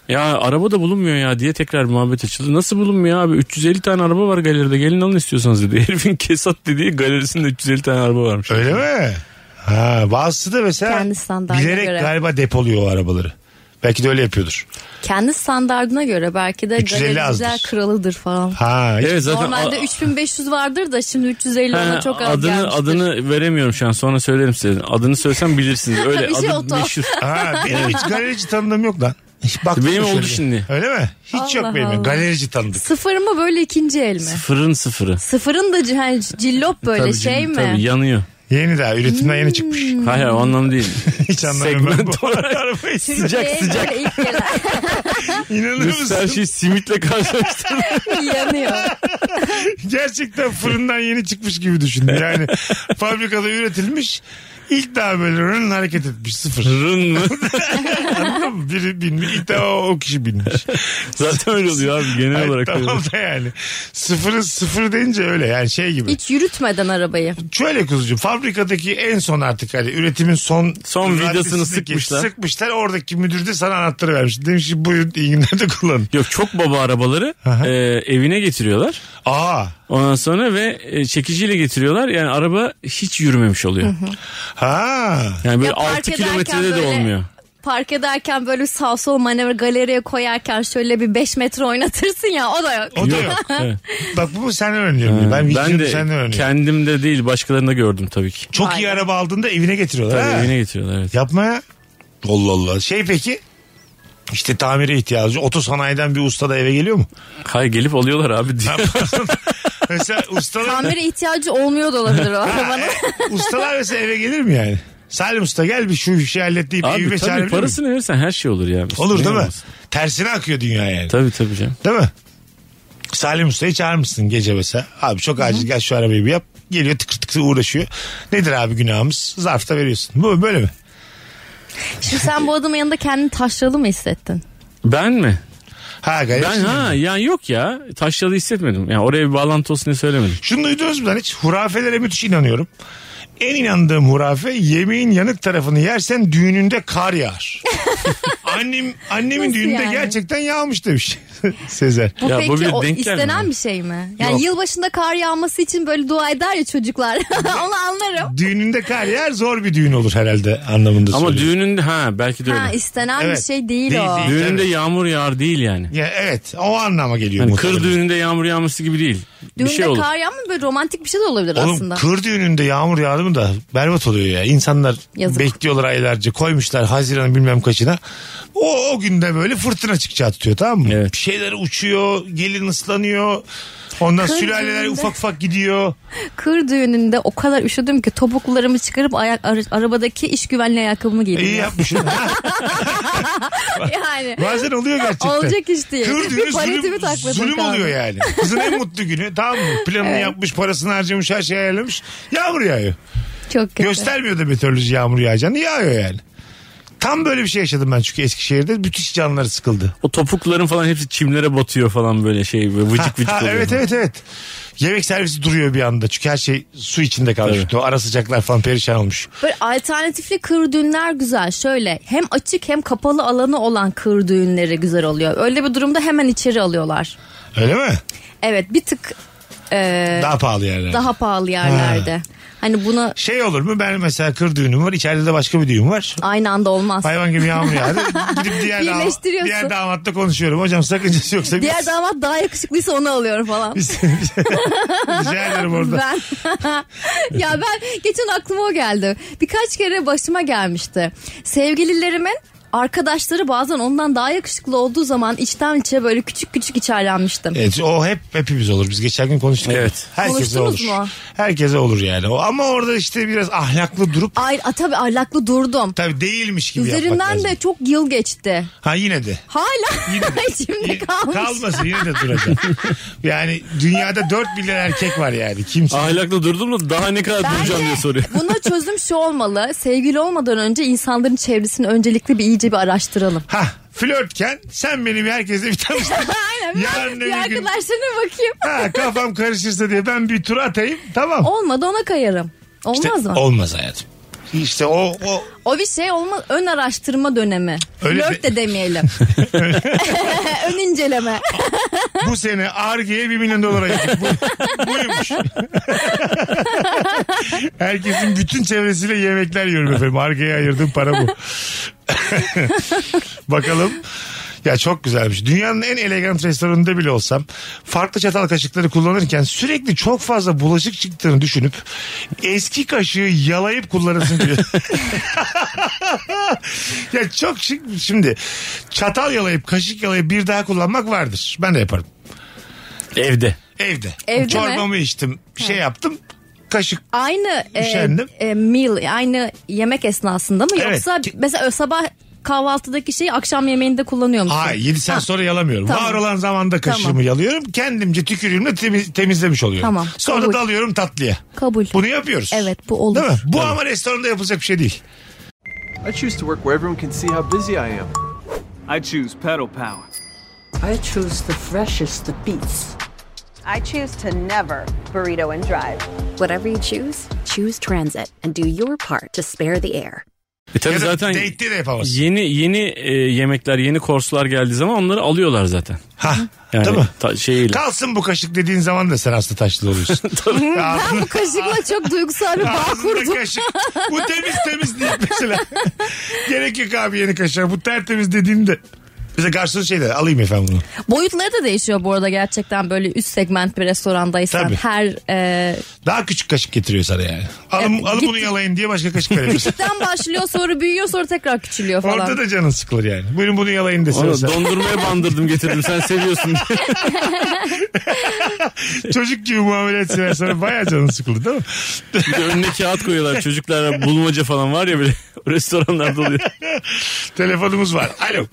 Speaker 4: Ya araba da bulunmuyor ya diye tekrar muhabbet açıldı. Nasıl bulunmuyor abi 350 tane araba var galeride gelin alın istiyorsanız dedi. Herifin kesat dediği galerisinde 350 tane araba varmış.
Speaker 3: Öyle mi? Ha, bazısı da mesela
Speaker 7: Kendi standartına
Speaker 3: bilerek
Speaker 7: göre.
Speaker 3: galiba depoluyor o arabaları. Belki de öyle yapıyordur.
Speaker 7: Kendi standardına göre belki de
Speaker 3: 350
Speaker 7: galericiler
Speaker 3: azdır.
Speaker 7: kralıdır falan.
Speaker 3: Ha, hiç-
Speaker 4: Evet zaten
Speaker 7: Normalde
Speaker 4: a-
Speaker 7: 3500 vardır da şimdi 350 ona
Speaker 4: Ha,
Speaker 7: çok az
Speaker 4: adını
Speaker 7: gelmiştir.
Speaker 4: adını veremiyorum şu an. Sonra söylerim size. Adını söylesem bilirsiniz. Öyle
Speaker 7: Bir şey
Speaker 4: adı
Speaker 7: oldu.
Speaker 4: meşhur.
Speaker 3: ha, benim hiç galerici tanıdığım yok lan. Hiç baktım
Speaker 4: Benim
Speaker 3: da
Speaker 4: oldu
Speaker 3: şöyle.
Speaker 4: şimdi.
Speaker 3: Öyle mi? Hiç yok
Speaker 7: Allah
Speaker 3: benim.
Speaker 7: Allah.
Speaker 3: Galerici tanıdık.
Speaker 7: Sıfır mı böyle ikinci el mi?
Speaker 4: Sıfırın sıfırı.
Speaker 7: Sıfırın da c- hani cillop böyle
Speaker 4: Tabii
Speaker 7: şey
Speaker 4: canım,
Speaker 7: mi? Hmm.
Speaker 4: Tabii yanıyor.
Speaker 3: Yeni daha üretimden yeni çıkmış.
Speaker 4: Hayır hayır, o anlamı değil.
Speaker 3: Hiç anlamıyorum ben
Speaker 4: Segment
Speaker 3: bu arabayı.
Speaker 4: Sıcak,
Speaker 7: Türkiye'ye
Speaker 4: sıcak.
Speaker 7: böyle ilk gelen
Speaker 3: İnanır
Speaker 4: Biz her
Speaker 3: mısın?
Speaker 4: şeyi simitle karşılaştırdık.
Speaker 7: yanıyor.
Speaker 3: Gerçekten fırından yeni çıkmış gibi düşündüm. Yani fabrikada üretilmiş ilk daha böyle rın hareket etmiş sıfır.
Speaker 4: Rın mı?
Speaker 3: Anladın mı? Biri binmiş ilk daha o, o kişi binmiş.
Speaker 4: Zaten öyle oluyor abi genel
Speaker 3: Hayır,
Speaker 4: olarak.
Speaker 3: tamam
Speaker 4: öyle.
Speaker 3: da yani sıfırı sıfır deyince öyle yani şey gibi.
Speaker 7: Hiç yürütmeden arabayı.
Speaker 3: Şöyle kuzucuğum fabrikadaki en son artık hani üretimin son
Speaker 4: Son vidasını
Speaker 3: raddesindeki
Speaker 4: sıkmışlar.
Speaker 3: Sıkmışlar oradaki müdür de sana anahtarı vermiş. Demiş ki buyurun iyi günler de kullanın.
Speaker 4: Yok çok baba arabaları
Speaker 3: Aha.
Speaker 4: e, evine getiriyorlar.
Speaker 3: Aa
Speaker 4: Ondan sonra ve e, çekiciyle getiriyorlar. Yani araba hiç yürümemiş oluyor.
Speaker 3: ha
Speaker 4: Yani böyle
Speaker 7: Ya park
Speaker 4: 6
Speaker 7: ederken
Speaker 4: kilometrede de
Speaker 7: böyle-
Speaker 4: olmuyor.
Speaker 7: Park ederken böyle sağ sol manevra galeriye koyarken şöyle bir 5 metre oynatırsın ya o da yok.
Speaker 3: o da yok.
Speaker 4: Evet.
Speaker 3: Bak bunu sen öğreniyorum. Ben,
Speaker 4: Ben,
Speaker 3: videoyu
Speaker 4: de
Speaker 3: senden öğreniyorum.
Speaker 4: kendimde değil başkalarında gördüm tabii ki.
Speaker 3: Çok iyi
Speaker 7: Aynen.
Speaker 3: araba aldığında evine getiriyorlar.
Speaker 4: Tabii
Speaker 3: ha.
Speaker 4: evine getiriyorlar evet.
Speaker 3: Yapma ya. Allah Allah. Şey peki işte tamire ihtiyacı. Otosanayiden bir usta da eve geliyor mu?
Speaker 4: Hayır gelip alıyorlar abi. diye.
Speaker 3: Mesela ustalar, e,
Speaker 7: Tamire ihtiyacı olmuyor da olabilir o arabanın.
Speaker 3: ustalar mesela eve gelir mi yani? Salim usta gel bir şu işi hallet deyip
Speaker 4: abi
Speaker 3: evime
Speaker 4: tabii
Speaker 3: çağırabilir miyim?
Speaker 4: parasını verirsen her şey olur ya. Biz
Speaker 3: Olur değil mi?
Speaker 4: bilmiyoruz.
Speaker 3: Tersine akıyor dünya yani.
Speaker 4: Tabii tabii canım.
Speaker 3: Değil mi? Salim Usta'yı çağırmışsın gece mesela. Abi çok acil gel şu arabayı bir yap. Geliyor tıkır tıkır uğraşıyor. Nedir abi günahımız? Zarfta veriyorsun. Bu böyle mi?
Speaker 7: Şimdi sen bu adamın yanında kendini taşralı mı hissettin?
Speaker 4: Ben mi?
Speaker 3: Ha gayet.
Speaker 4: Ben ha yani yok ya. Taşralı hissetmedim. Yani oraya bir bağlantı olsun diye söylemedim.
Speaker 3: Şunu duydunuz mu lan hiç? Hurafelere müthiş inanıyorum. En inandığım hurafe yemeğin yanık tarafını yersen düğününde kar yağar. Annem, annemin
Speaker 7: Nasıl
Speaker 3: düğününde
Speaker 7: yani?
Speaker 3: gerçekten yağmış demiş Sezer.
Speaker 7: Bu
Speaker 4: Ya bu
Speaker 7: peki
Speaker 4: bir
Speaker 7: o
Speaker 4: denk gelmiyor.
Speaker 7: istenen bir şey mi? Yani
Speaker 3: Yok.
Speaker 7: yılbaşında kar yağması için böyle dua eder ya çocuklar. Onu anlarım.
Speaker 3: Düğününde kar yağar zor bir düğün olur herhalde anlamında
Speaker 4: Ama
Speaker 3: söylüyorum.
Speaker 4: düğününde ha belki de öyle.
Speaker 7: Ha istenen
Speaker 3: Evet.
Speaker 7: bir şey değil,
Speaker 3: Değil,
Speaker 7: o.
Speaker 3: değil.
Speaker 4: düğününde
Speaker 3: tabii.
Speaker 4: yağmur yağar değil yani.
Speaker 3: Ya evet o anlama geliyor.
Speaker 4: Yani
Speaker 3: muhtemelen.
Speaker 4: Hani kır düğününde yağmur yağması gibi değil.
Speaker 7: Düğünde
Speaker 4: bir şey olur.
Speaker 7: kar yağmıyor böyle romantik bir şey de olabilir
Speaker 3: Oğlum
Speaker 7: aslında.
Speaker 3: kır düğününde yağmur yağdı mı da berbat oluyor ya. İnsanlar
Speaker 7: Yazık.
Speaker 3: bekliyorlar aylarca koymuşlar Haziran'ın bilmem kaçına. O, o günde böyle fırtına çıkacağı tutuyor tamam mı?
Speaker 4: Evet.
Speaker 3: Bir şeyler uçuyor gelin ıslanıyor. Ondan
Speaker 7: Kır
Speaker 3: sülaleler
Speaker 7: düğününde.
Speaker 3: ufak ufak gidiyor.
Speaker 7: Kır düğününde o kadar üşüdüm ki topuklarımı çıkarıp ayak ara- arabadaki iş güvenliği ayakkabımı giydim.
Speaker 3: İyi E, yapmışsın. Ha,
Speaker 7: yani.
Speaker 3: Bazen oluyor gerçekten.
Speaker 7: Olacak iş değil.
Speaker 3: Kır düğünü
Speaker 7: Bir paletimi
Speaker 3: zulüm,
Speaker 7: takladım
Speaker 3: zulüm
Speaker 7: kaldı.
Speaker 3: oluyor yani. Kızın en mutlu günü tamam mı? Planını yapmış parasını harcamış her şeyi ayarlamış. Yağmur yağıyor.
Speaker 7: Çok kötü.
Speaker 3: Göstermiyor da meteoroloji yağmur yağacağını yağıyor yani. Tam böyle bir şey yaşadım ben çünkü Eskişehir'de bütün iş canlıları sıkıldı.
Speaker 4: O topukların falan hepsi çimlere batıyor falan böyle şey böyle
Speaker 3: Ha,
Speaker 4: vıcık vıcık
Speaker 3: ha,
Speaker 4: oluyor.
Speaker 3: evet evet evet. Yemek servisi duruyor bir anda çünkü her şey su içinde kalmış.
Speaker 4: Tabii.
Speaker 3: O ara sıcaklar falan perişan olmuş.
Speaker 7: Böyle alternatifli kır düğünler güzel. Şöyle hem açık hem kapalı alanı olan kır düğünleri güzel oluyor. Öyle bir durumda hemen içeri alıyorlar.
Speaker 3: Öyle mi?
Speaker 7: Evet bir tık e,
Speaker 3: Daha pahalı yerler.
Speaker 7: daha pahalı yerlerde. Hani buna
Speaker 3: Şey olur mu ben mesela kır düğünüm var içeride de başka bir düğün var.
Speaker 7: aynı anda olmaz.
Speaker 3: Hayvan gibi yağmur yağdı. Gidip diğer, damat,
Speaker 7: Birleştiriyorsun.
Speaker 3: diğer damatla konuşuyorum. Hocam sakıncası yoksa biz-
Speaker 7: Diğer damat daha yakışıklıysa onu alıyorum falan.
Speaker 3: biz, rica ederim orada.
Speaker 7: Ben ya ben geçen aklıma o geldi. Birkaç kere başıma gelmişti. Sevgililerimin arkadaşları bazen ondan daha yakışıklı olduğu zaman içten içe böyle küçük küçük içerlenmiştim.
Speaker 3: Evet, o hep hepimiz olur. Biz geçen gün konuştuk.
Speaker 4: Evet.
Speaker 3: Herkese olur.
Speaker 7: Konuştunuz mu?
Speaker 3: Herkese olur yani. O, ama orada işte biraz ahlaklı durup
Speaker 7: Ay a, tabii ahlaklı durdum.
Speaker 3: tabii değilmiş gibi yapmak
Speaker 7: Üzerinden
Speaker 3: lazım.
Speaker 7: de çok yıl geçti.
Speaker 3: Ha yine de.
Speaker 7: Hala
Speaker 3: Yine de.
Speaker 7: içimde
Speaker 3: Yine-
Speaker 7: kalmış.
Speaker 3: Kalmasın yine de duracak. yani dünyada 4 milyon erkek var yani. Kimse.
Speaker 4: Ahlaklı durdum da daha ne kadar duracağım diye soruyor.
Speaker 7: buna çözüm şu olmalı. Sevgili olmadan önce insanların çevresini öncelikle bir iyice bir araştıralım.
Speaker 3: Ha flörtken sen beni bir herkese bir tanıştır.
Speaker 7: Aynen. ben
Speaker 3: Yarın
Speaker 7: bir
Speaker 3: öbür gün-
Speaker 7: arkadaşlarına bakayım.
Speaker 3: ha kafam karışırsa diye ben bir tur atayım. Tamam.
Speaker 7: Olmadı ona kayarım. Olmaz
Speaker 3: İşte
Speaker 7: mı?
Speaker 3: Olmaz hayatım. İşte o, o
Speaker 7: O bir şey olmaz. Ön araştırma dönemi.
Speaker 3: Öyle
Speaker 7: Flört
Speaker 3: de-
Speaker 7: de demeyelim. Ön inceleme.
Speaker 3: bu sene Arge'ye 1 milyon dolara gittik. Bu, buymuş. Herkesin bütün çevresiyle yemekler yiyorum efendim. Arge'ye ayırdığım para bu. Bakalım. Ya çok güzelmiş. Dünyanın en elegant restoranında bile olsam farklı çatal kaşıkları kullanırken sürekli çok fazla bulaşık çıktığını düşünüp eski kaşığı yalayıp kullanırsın diyor. ya çok şık şimdi çatal yalayıp kaşık yalayıp bir daha kullanmak vardır. Ben de yaparım.
Speaker 4: Evde.
Speaker 3: Evde.
Speaker 7: Evde mi?
Speaker 3: Çorbamı içtim. Şey yaptım. kaşık
Speaker 7: Aynı e,
Speaker 3: Üşendim.
Speaker 7: e, meal aynı yemek esnasında mı
Speaker 3: Evet.
Speaker 7: yoksa mesela ö- sabah kahvaltıdaki şeyi akşam yemeğinde kullanıyor musun?
Speaker 3: Hayır 7 saat
Speaker 7: Ha,
Speaker 3: sonra yalamıyorum.
Speaker 7: Tamam.
Speaker 3: Var olan zamanda kaşığımı
Speaker 7: Tamam.
Speaker 3: yalıyorum. Kendimce tükürüğümle temiz- temizlemiş oluyorum.
Speaker 7: Tamam,
Speaker 3: Sonra
Speaker 7: kabul.
Speaker 3: dalıyorum tatlıya.
Speaker 7: Kabul.
Speaker 3: Bunu yapıyoruz.
Speaker 7: Evet, bu olur.
Speaker 3: Değil mi? Bu ama restoranda yapılacak bir şey değil.
Speaker 8: I choose to work where everyone can see how busy I am. I choose pedal power.
Speaker 9: I choose the freshest of beets.
Speaker 10: I choose to never burrito and drive.
Speaker 11: Whatever you choose, choose transit and do your part to spare the air.
Speaker 4: E tabii
Speaker 3: Ya da
Speaker 4: zaten
Speaker 3: date'de de yapamazsın.
Speaker 4: yeni yeni e, yemekler, yeni korslar geldiği zaman onları alıyorlar zaten.
Speaker 3: Ha,
Speaker 4: Yani
Speaker 3: değil mi?
Speaker 4: ta- şeyiyle.
Speaker 3: Kalsın bu kaşık dediğin zaman da sen hasta taşlı oluyorsun.
Speaker 7: Ben bu kaşıkla çok duygusal bir bağ
Speaker 3: Ağzında
Speaker 7: kurdum.
Speaker 3: kaşık. Bu temiz temiz değil mesela. Gerek yok abi yeni kaşığa. Bu tertemiz dediğinde. Bize garson şeyler şey alayım efendim bunu.
Speaker 7: Boyutları da değişiyor bu arada gerçekten böyle üst segment bir restorandaysan
Speaker 3: Tabii.
Speaker 7: her e,
Speaker 3: Daha küçük kaşık getiriyor sana yani. Alın,
Speaker 7: Evet,
Speaker 3: alın
Speaker 7: gitti.
Speaker 3: bunu yalayın diye başka kaşık verebilirsin.
Speaker 7: küçükten başlıyor sonra büyüyor sonra tekrar küçülüyor falan.
Speaker 3: Orada da canın sıkılır yani. Buyurun bunu yalayın desin.
Speaker 4: Onu
Speaker 3: mesela.
Speaker 4: dondurmaya bandırdım getirdim sen seviyorsun.
Speaker 3: Çocuk gibi muamele etsinler sana bayağı canın sıkılır değil mi?
Speaker 4: bir de önüne kağıt koyuyorlar çocuklara bulmaca falan var ya böyle restoranlarda oluyor.
Speaker 3: Telefonumuz var. Alo.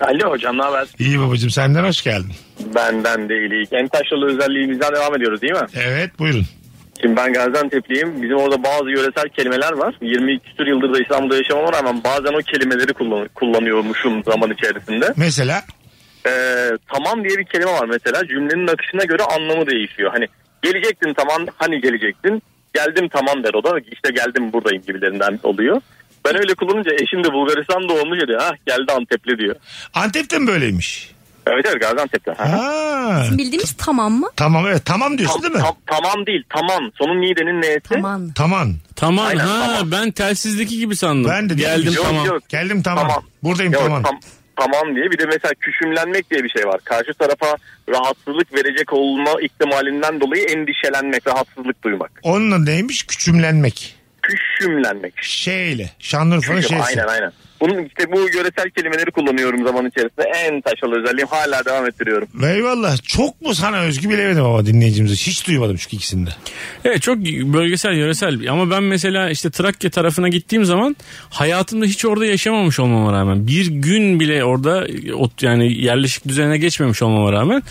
Speaker 6: Alo hocam ne haber?
Speaker 3: İyi babacığım senden hoş geldin.
Speaker 6: Benden de iyilik. Entaşralı özelliğimizden devam ediyoruz değil mi?
Speaker 3: Evet buyurun.
Speaker 6: Şimdi ben Gaziantep'liyim. Bizim orada bazı yöresel kelimeler var. 20 küsur yıldır da İstanbul'da yaşamama rağmen bazen o kelimeleri kullan- kullanıyormuşum zaman içerisinde.
Speaker 3: Mesela
Speaker 6: Ee, tamam diye bir kelime var mesela. Cümlenin akışına göre anlamı değişiyor. Hani gelecektin tamam hani gelecektin. Geldim tamam der o da. İşte geldim buradayım gibilerinden oluyor. Ben öyle kullanınca eşim de Bulgaristan doğumlu ya diyor. Ah geldi Antepli diyor.
Speaker 3: Antep'te mi böyleymiş?
Speaker 6: Evet evet Gaziantep'te. Ha.
Speaker 3: Ha.
Speaker 7: Bildiğimiz tamam mı?
Speaker 3: Tamam evet tamam diyorsun
Speaker 6: Tam-
Speaker 3: değil mi?
Speaker 6: tam- tamam değil tamam. Sonun midenin neyesi?
Speaker 7: Tamam.
Speaker 3: Tamam.
Speaker 4: Tamam
Speaker 6: Aynen,
Speaker 4: ha
Speaker 6: tamam.
Speaker 4: ben telsizdeki gibi sandım.
Speaker 3: Ben de
Speaker 4: Geldim
Speaker 3: değilmiş.
Speaker 6: Yok,
Speaker 4: tamam.
Speaker 6: yok.
Speaker 3: Geldim tamam. Buradayım
Speaker 6: Yok,
Speaker 3: tamam.
Speaker 6: tam- tamam diye bir de mesela küçümlenmek diye bir şey var. Karşı tarafa rahatsızlık verecek olma ihtimalinden dolayı endişelenmek, rahatsızlık duymak.
Speaker 3: Onun adı neymiş? Küçümlenmek.
Speaker 6: Küçümlenmek.
Speaker 3: Şeyle. Şanlıurfa'nın
Speaker 6: Küçüm,
Speaker 3: şeysi.
Speaker 6: aynen aynen. Bunun işte bu yöresel kelimeleri kullanıyorum zaman içerisinde. En taşalı özelliğim hala devam ettiriyorum.
Speaker 3: Eyvallah. Çok mu sana özgü bilemedim ama dinleyicimizi. Hiç duymadım çünkü ikisinde.
Speaker 4: Evet çok bölgesel yöresel ama ben mesela işte Trakya tarafına gittiğim zaman hayatımda hiç orada yaşamamış olmama rağmen bir gün bile orada ot- yani yerleşik düzene geçmemiş olmama rağmen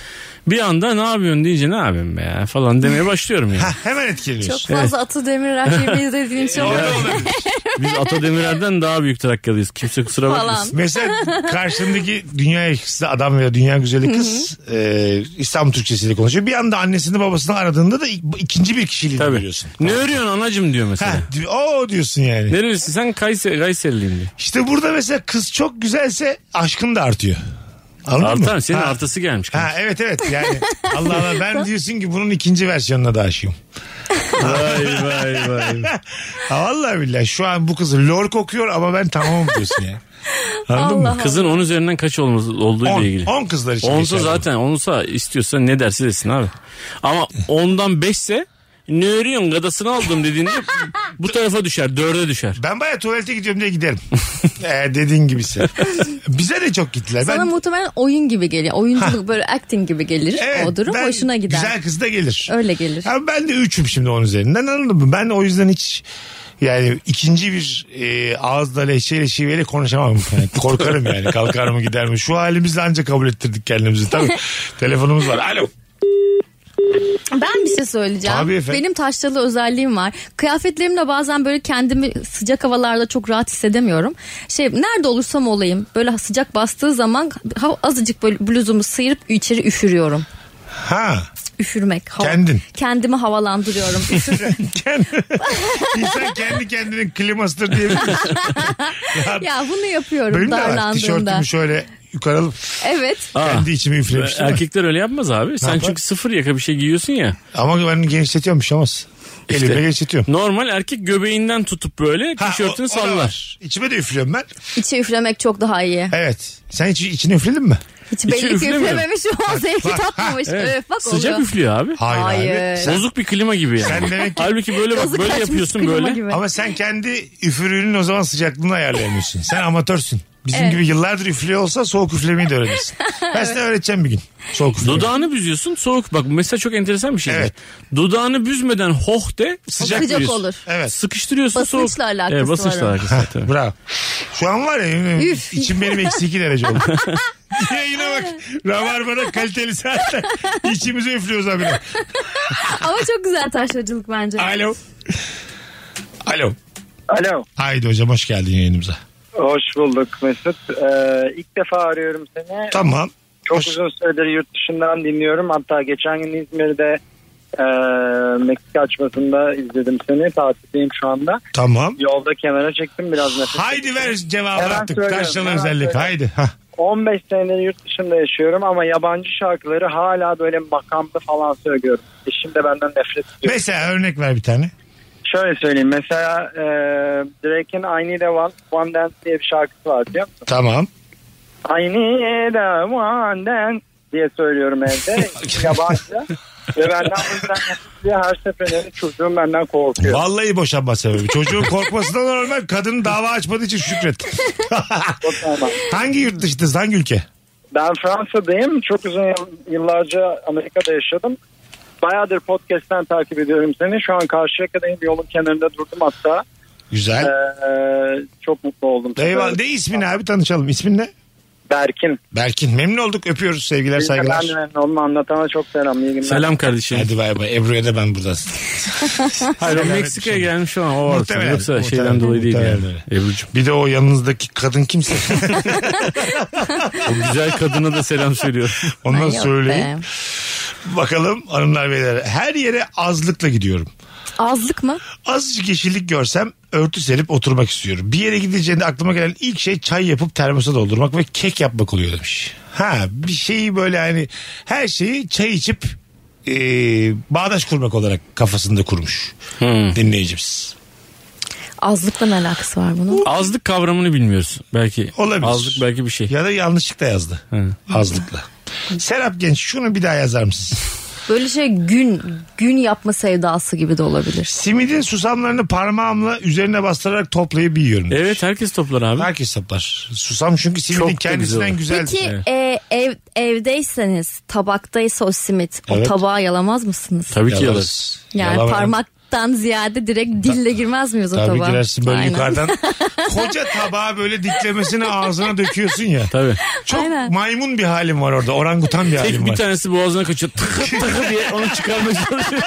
Speaker 4: bir anda ne yapıyorsun deyince ne yapayım be ya?" falan demeye başlıyorum yani.
Speaker 3: Ha, hemen etkileniyorsun.
Speaker 7: Çok fazla Atı Demirel şey dediğin için
Speaker 4: Ya,
Speaker 7: orada
Speaker 4: Biz Atademirer'den daha büyük Trakyalıyız. Kimse kusura
Speaker 7: falan.
Speaker 4: bakmasın.
Speaker 3: Mesela karşındaki dünya yakışıklı adam veya dünya güzeli kız e, İslam Türkçesiyle konuşuyor. Bir anda annesini babasını aradığında da ik- ikinci bir kişiliğini
Speaker 4: Tabii.
Speaker 3: görüyorsun.
Speaker 4: Ne örüyorsun anacım diyor mesela.
Speaker 3: Ha, di- o diyorsun yani.
Speaker 4: Nerelisin sen Kayseri, Kayseriliyim diyor.
Speaker 3: İşte burada mesela kız çok güzelse aşkın da artıyor. Anladın
Speaker 4: Artar
Speaker 3: mı?
Speaker 4: senin
Speaker 3: Ha.
Speaker 4: artısı gelmiş.
Speaker 3: Ha evet evet yani Allah Allah ben diyorsun ki bunun ikinci versiyonuna da aşığım.
Speaker 4: vay vay vay.
Speaker 3: Ha, vallahi billahi şu an bu kız lor kokuyor ama ben tamam diyorsun ya. Anladın mı?
Speaker 7: Allah
Speaker 4: Kızın 10 üzerinden kaç olması, olduğu ile ilgili.
Speaker 3: 10 kızlar için.
Speaker 4: Onsa
Speaker 3: geçerli.
Speaker 4: zaten onsa istiyorsa ne derse desin abi. Ama ondan beşse ne örüyorsun gadasını aldım dediğinde bu tarafa düşer dörde düşer.
Speaker 3: Ben baya tuvalete gidiyorum diye giderim. ee, dediğin gibisi. Bize de çok gittiler.
Speaker 7: Sana
Speaker 3: ben,
Speaker 7: muhtemelen oyun gibi geliyor. Oyunculuk böyle acting gibi gelir.
Speaker 3: Evet,
Speaker 7: o durum
Speaker 3: ben-
Speaker 7: hoşuna gider.
Speaker 3: Güzel kız da gelir.
Speaker 7: Öyle gelir.
Speaker 3: Ama ben de üçüm şimdi onun üzerinden anladın mı? Ben o yüzden hiç yani ikinci bir e, ağızla leşeyle şiveyle konuşamam. Yani korkarım yani kalkar mı gider mi? Şu halimizle ancak kabul ettirdik kendimizi. Tabii telefonumuz var. Alo.
Speaker 7: Ben bir şey söyleyeceğim.
Speaker 3: Tabii efendim.
Speaker 7: Benim taşralı özelliğim var. Kıyafetlerimle bazen böyle kendimi sıcak havalarda çok rahat hissedemiyorum. Şey nerede olursam olayım böyle sıcak bastığı zaman ha- azıcık böyle bluzumu sıyırıp içeri üfürüyorum.
Speaker 3: Ha.
Speaker 7: Üfürmek. hava-
Speaker 3: Kendin.
Speaker 7: Kendimi havalandırıyorum. Üfürüyorum.
Speaker 3: Kendi, insan kendi kendinin klimasıdır diyebilir misin?
Speaker 7: ya bunu yapıyorum
Speaker 3: Benim de var.
Speaker 7: darlandığımda.
Speaker 3: Tişörtümü şöyle yukarı alıp
Speaker 7: Evet.
Speaker 4: Aa,
Speaker 3: kendi içime üflemiştim.
Speaker 4: erkekler öyle yapmaz abi. Sen
Speaker 3: yapar?
Speaker 4: çünkü sıfır yaka bir şey giyiyorsun ya.
Speaker 3: Ama ben genişletiyorum bir şey olmaz.
Speaker 4: İşte.
Speaker 3: Elimle genişletiyorum.
Speaker 4: Normal erkek göbeğinden tutup böyle
Speaker 3: Ha,
Speaker 4: tişörtünü
Speaker 3: o- o da
Speaker 4: sallar.
Speaker 3: var. İçime de üflüyorum ben.
Speaker 7: İçi üflemek çok daha iyi.
Speaker 3: Evet. Sen hiç içine üfledin mi?
Speaker 7: Hiç belli ki
Speaker 4: üflemiyorum.
Speaker 7: üflememiş o zevki tatmamış. Evet, bak
Speaker 4: Sıcak
Speaker 7: oluyor.
Speaker 4: üflüyor abi.
Speaker 3: abi.
Speaker 7: Hayır.
Speaker 3: Sen-
Speaker 4: Bozuk bir klima gibi yani.
Speaker 3: Sen demek ki-
Speaker 4: Halbuki böyle bak
Speaker 7: Kazık
Speaker 4: böyle
Speaker 7: açmış
Speaker 4: yapıyorsun
Speaker 7: klima
Speaker 4: böyle.
Speaker 7: gibi.
Speaker 3: Ama sen kendi üfürüğünün o zaman sıcaklığını ayarlayamıyorsun. Sen amatörsün. Bizim
Speaker 7: Evet.
Speaker 3: gibi yıllardır üflüyor olsa soğuk üflemeyi de öğrenirsin. Ben size öğreteceğim bir gün. Soğuk üflemeyi.
Speaker 4: Dudağını büzüyorsun soğuk. Bak bu mesela çok enteresan bir şey.
Speaker 3: Evet.
Speaker 4: Dudağını büzmeden hoh de sıcak,
Speaker 7: Sıcak
Speaker 4: veriyorsun.
Speaker 7: olur.
Speaker 3: Evet.
Speaker 4: Sıkıştırıyorsun soğuk.
Speaker 7: Basınçla alakası
Speaker 4: evet, basınçla
Speaker 7: var onun.
Speaker 4: alakası var. tabii.
Speaker 3: Bravo. Şu an var ya eminim,
Speaker 7: Üf.
Speaker 3: içim benim eksi iki derece oldu. Yayına bak. Rabarba'da kaliteli saatler. İçimizi üflüyoruz abi.
Speaker 7: Ama çok güzel taşracılık bence.
Speaker 3: Alo. Alo.
Speaker 6: Alo.
Speaker 3: Haydi hocam hoş geldin yayınımıza.
Speaker 6: Hoş bulduk Mesut. Ee, ilk defa arıyorum seni.
Speaker 3: Tamam.
Speaker 6: Çok
Speaker 3: Hoş-
Speaker 6: uzun süredir yurt dışından dinliyorum. Hatta geçen gün İzmir'de e, Meksika açmasında izledim seni. Tatildeyim şu anda.
Speaker 3: Tamam.
Speaker 6: Yolda kenara çektim biraz nefes.
Speaker 3: Haydi ver cevabı
Speaker 6: Hemen
Speaker 3: artık.
Speaker 6: söylüyorum,
Speaker 3: Taşralı
Speaker 6: hemen
Speaker 3: özellik.
Speaker 6: söylüyorum.
Speaker 3: Haydi. Hah.
Speaker 6: 15 senedir yurt dışında yaşıyorum ama yabancı şarkıları hala böyle makamlı falan söylüyorum. Eşim de benden nefret ediyor.
Speaker 3: Mesela örnek ver bir tane.
Speaker 6: Şöyle söyleyeyim mesela e, Drake'in I Need a One, One Dance diye bir şarkısı var biliyor musun?
Speaker 3: Tamam.
Speaker 6: I need a one dance diye söylüyorum evde yabancı. Ve benden bu yüzden nefret ediyor. her seferinde çocuğum benden korkuyor.
Speaker 3: Vallahi boşanma sebebi. Çocuğun korkması da normal. Kadın dava açmadığı için şükret.
Speaker 6: Çok normal.
Speaker 3: hangi yurt dışındasın? Hangi ülke?
Speaker 6: Ben Fransa'dayım. Çok uzun yıl- yıllarca Amerika'da yaşadım. Bayağıdır podcast'ten takip ediyorum seni. Şu an Karşıyaka'dayım. Yolun kenarında durdum hatta.
Speaker 3: Güzel.
Speaker 6: Ee, çok mutlu oldum.
Speaker 3: Eyvallah. Ne ismin abi tanışalım. İsmin ne?
Speaker 6: Berkin.
Speaker 3: Berkin. Memnun olduk. Öpüyoruz. Sevgiler saygılar.
Speaker 6: Ben de memnun oldum. Anlatana çok selam. İyi günler.
Speaker 4: Selam kardeşim.
Speaker 3: Hadi bay bay. Ebru'ya da ben buradan.
Speaker 4: Hayır o
Speaker 3: Selam etmişim.
Speaker 4: Meksika'ya gelmiş şu an o ortada.
Speaker 3: Muhtemelen,
Speaker 4: Yoksa
Speaker 3: muhtemelen,
Speaker 4: şeyden dolayı değil
Speaker 3: muhtemelen
Speaker 4: yani. Ebru'cum.
Speaker 3: Bir de o yanınızdaki kadın kimse.
Speaker 4: O güzel kadına da selam söylüyor.
Speaker 3: Ondan
Speaker 7: Ay yok
Speaker 3: söyleyin.
Speaker 7: be.
Speaker 3: Bakalım hanımlar beyler. Her yere azlıkla gidiyorum.
Speaker 7: Azlık mı?
Speaker 3: Azıcık yeşillik görsem örtü serip oturmak istiyorum. Bir yere gideceğinde aklıma gelen ilk şey çay yapıp termosa doldurmak ve kek yapmak oluyor demiş. Ha bir şeyi böyle hani her şeyi çay içip e, bağdaş kurmak olarak kafasında kurmuş
Speaker 4: Hmm.
Speaker 3: dinleyicimiz.
Speaker 7: Azlıkla ne alakası var bunun?
Speaker 4: Azlık kavramını bilmiyorsun belki.
Speaker 3: Olabilir.
Speaker 4: Azlık belki bir şey.
Speaker 3: Ya da yanlışlıkla yazdı. Azlıkla. Serap Genç şunu bir daha yazar mısın?
Speaker 7: Böyle şey gün gün yapma sevdası gibi de olabilir.
Speaker 3: Simidin susamlarını parmağımla üzerine bastırarak toplayıp yiyorum. demiş.
Speaker 4: Evet herkes toplar abi.
Speaker 3: Herkes toplar. Susam çünkü simidin
Speaker 4: E- Çok da
Speaker 3: kendisinden güzel.
Speaker 7: Peki e, ev, evdeyseniz tabaktaysa o simit
Speaker 3: Evet.
Speaker 7: o tabağa yalamaz mısınız?
Speaker 4: Tabii ki yalarız.
Speaker 3: Yalarız.
Speaker 7: Yani
Speaker 3: Yalamam.
Speaker 7: parmaktan ziyade direkt dille girmez miyiz o tabağa?
Speaker 3: Tabii girersin böyle
Speaker 7: Aynen.
Speaker 3: yukarıdan. Koca tabağı böyle diklemesini ağzına döküyorsun ya.
Speaker 4: Tabii.
Speaker 3: Çok
Speaker 7: Aynen.
Speaker 3: maymun bir halim var orada. Orangutan bir halim
Speaker 4: Tek bir
Speaker 3: var.
Speaker 4: tanesi boğazına kaçıyor. Tıkı tıkı diye onu çıkarmaya çalışıyor.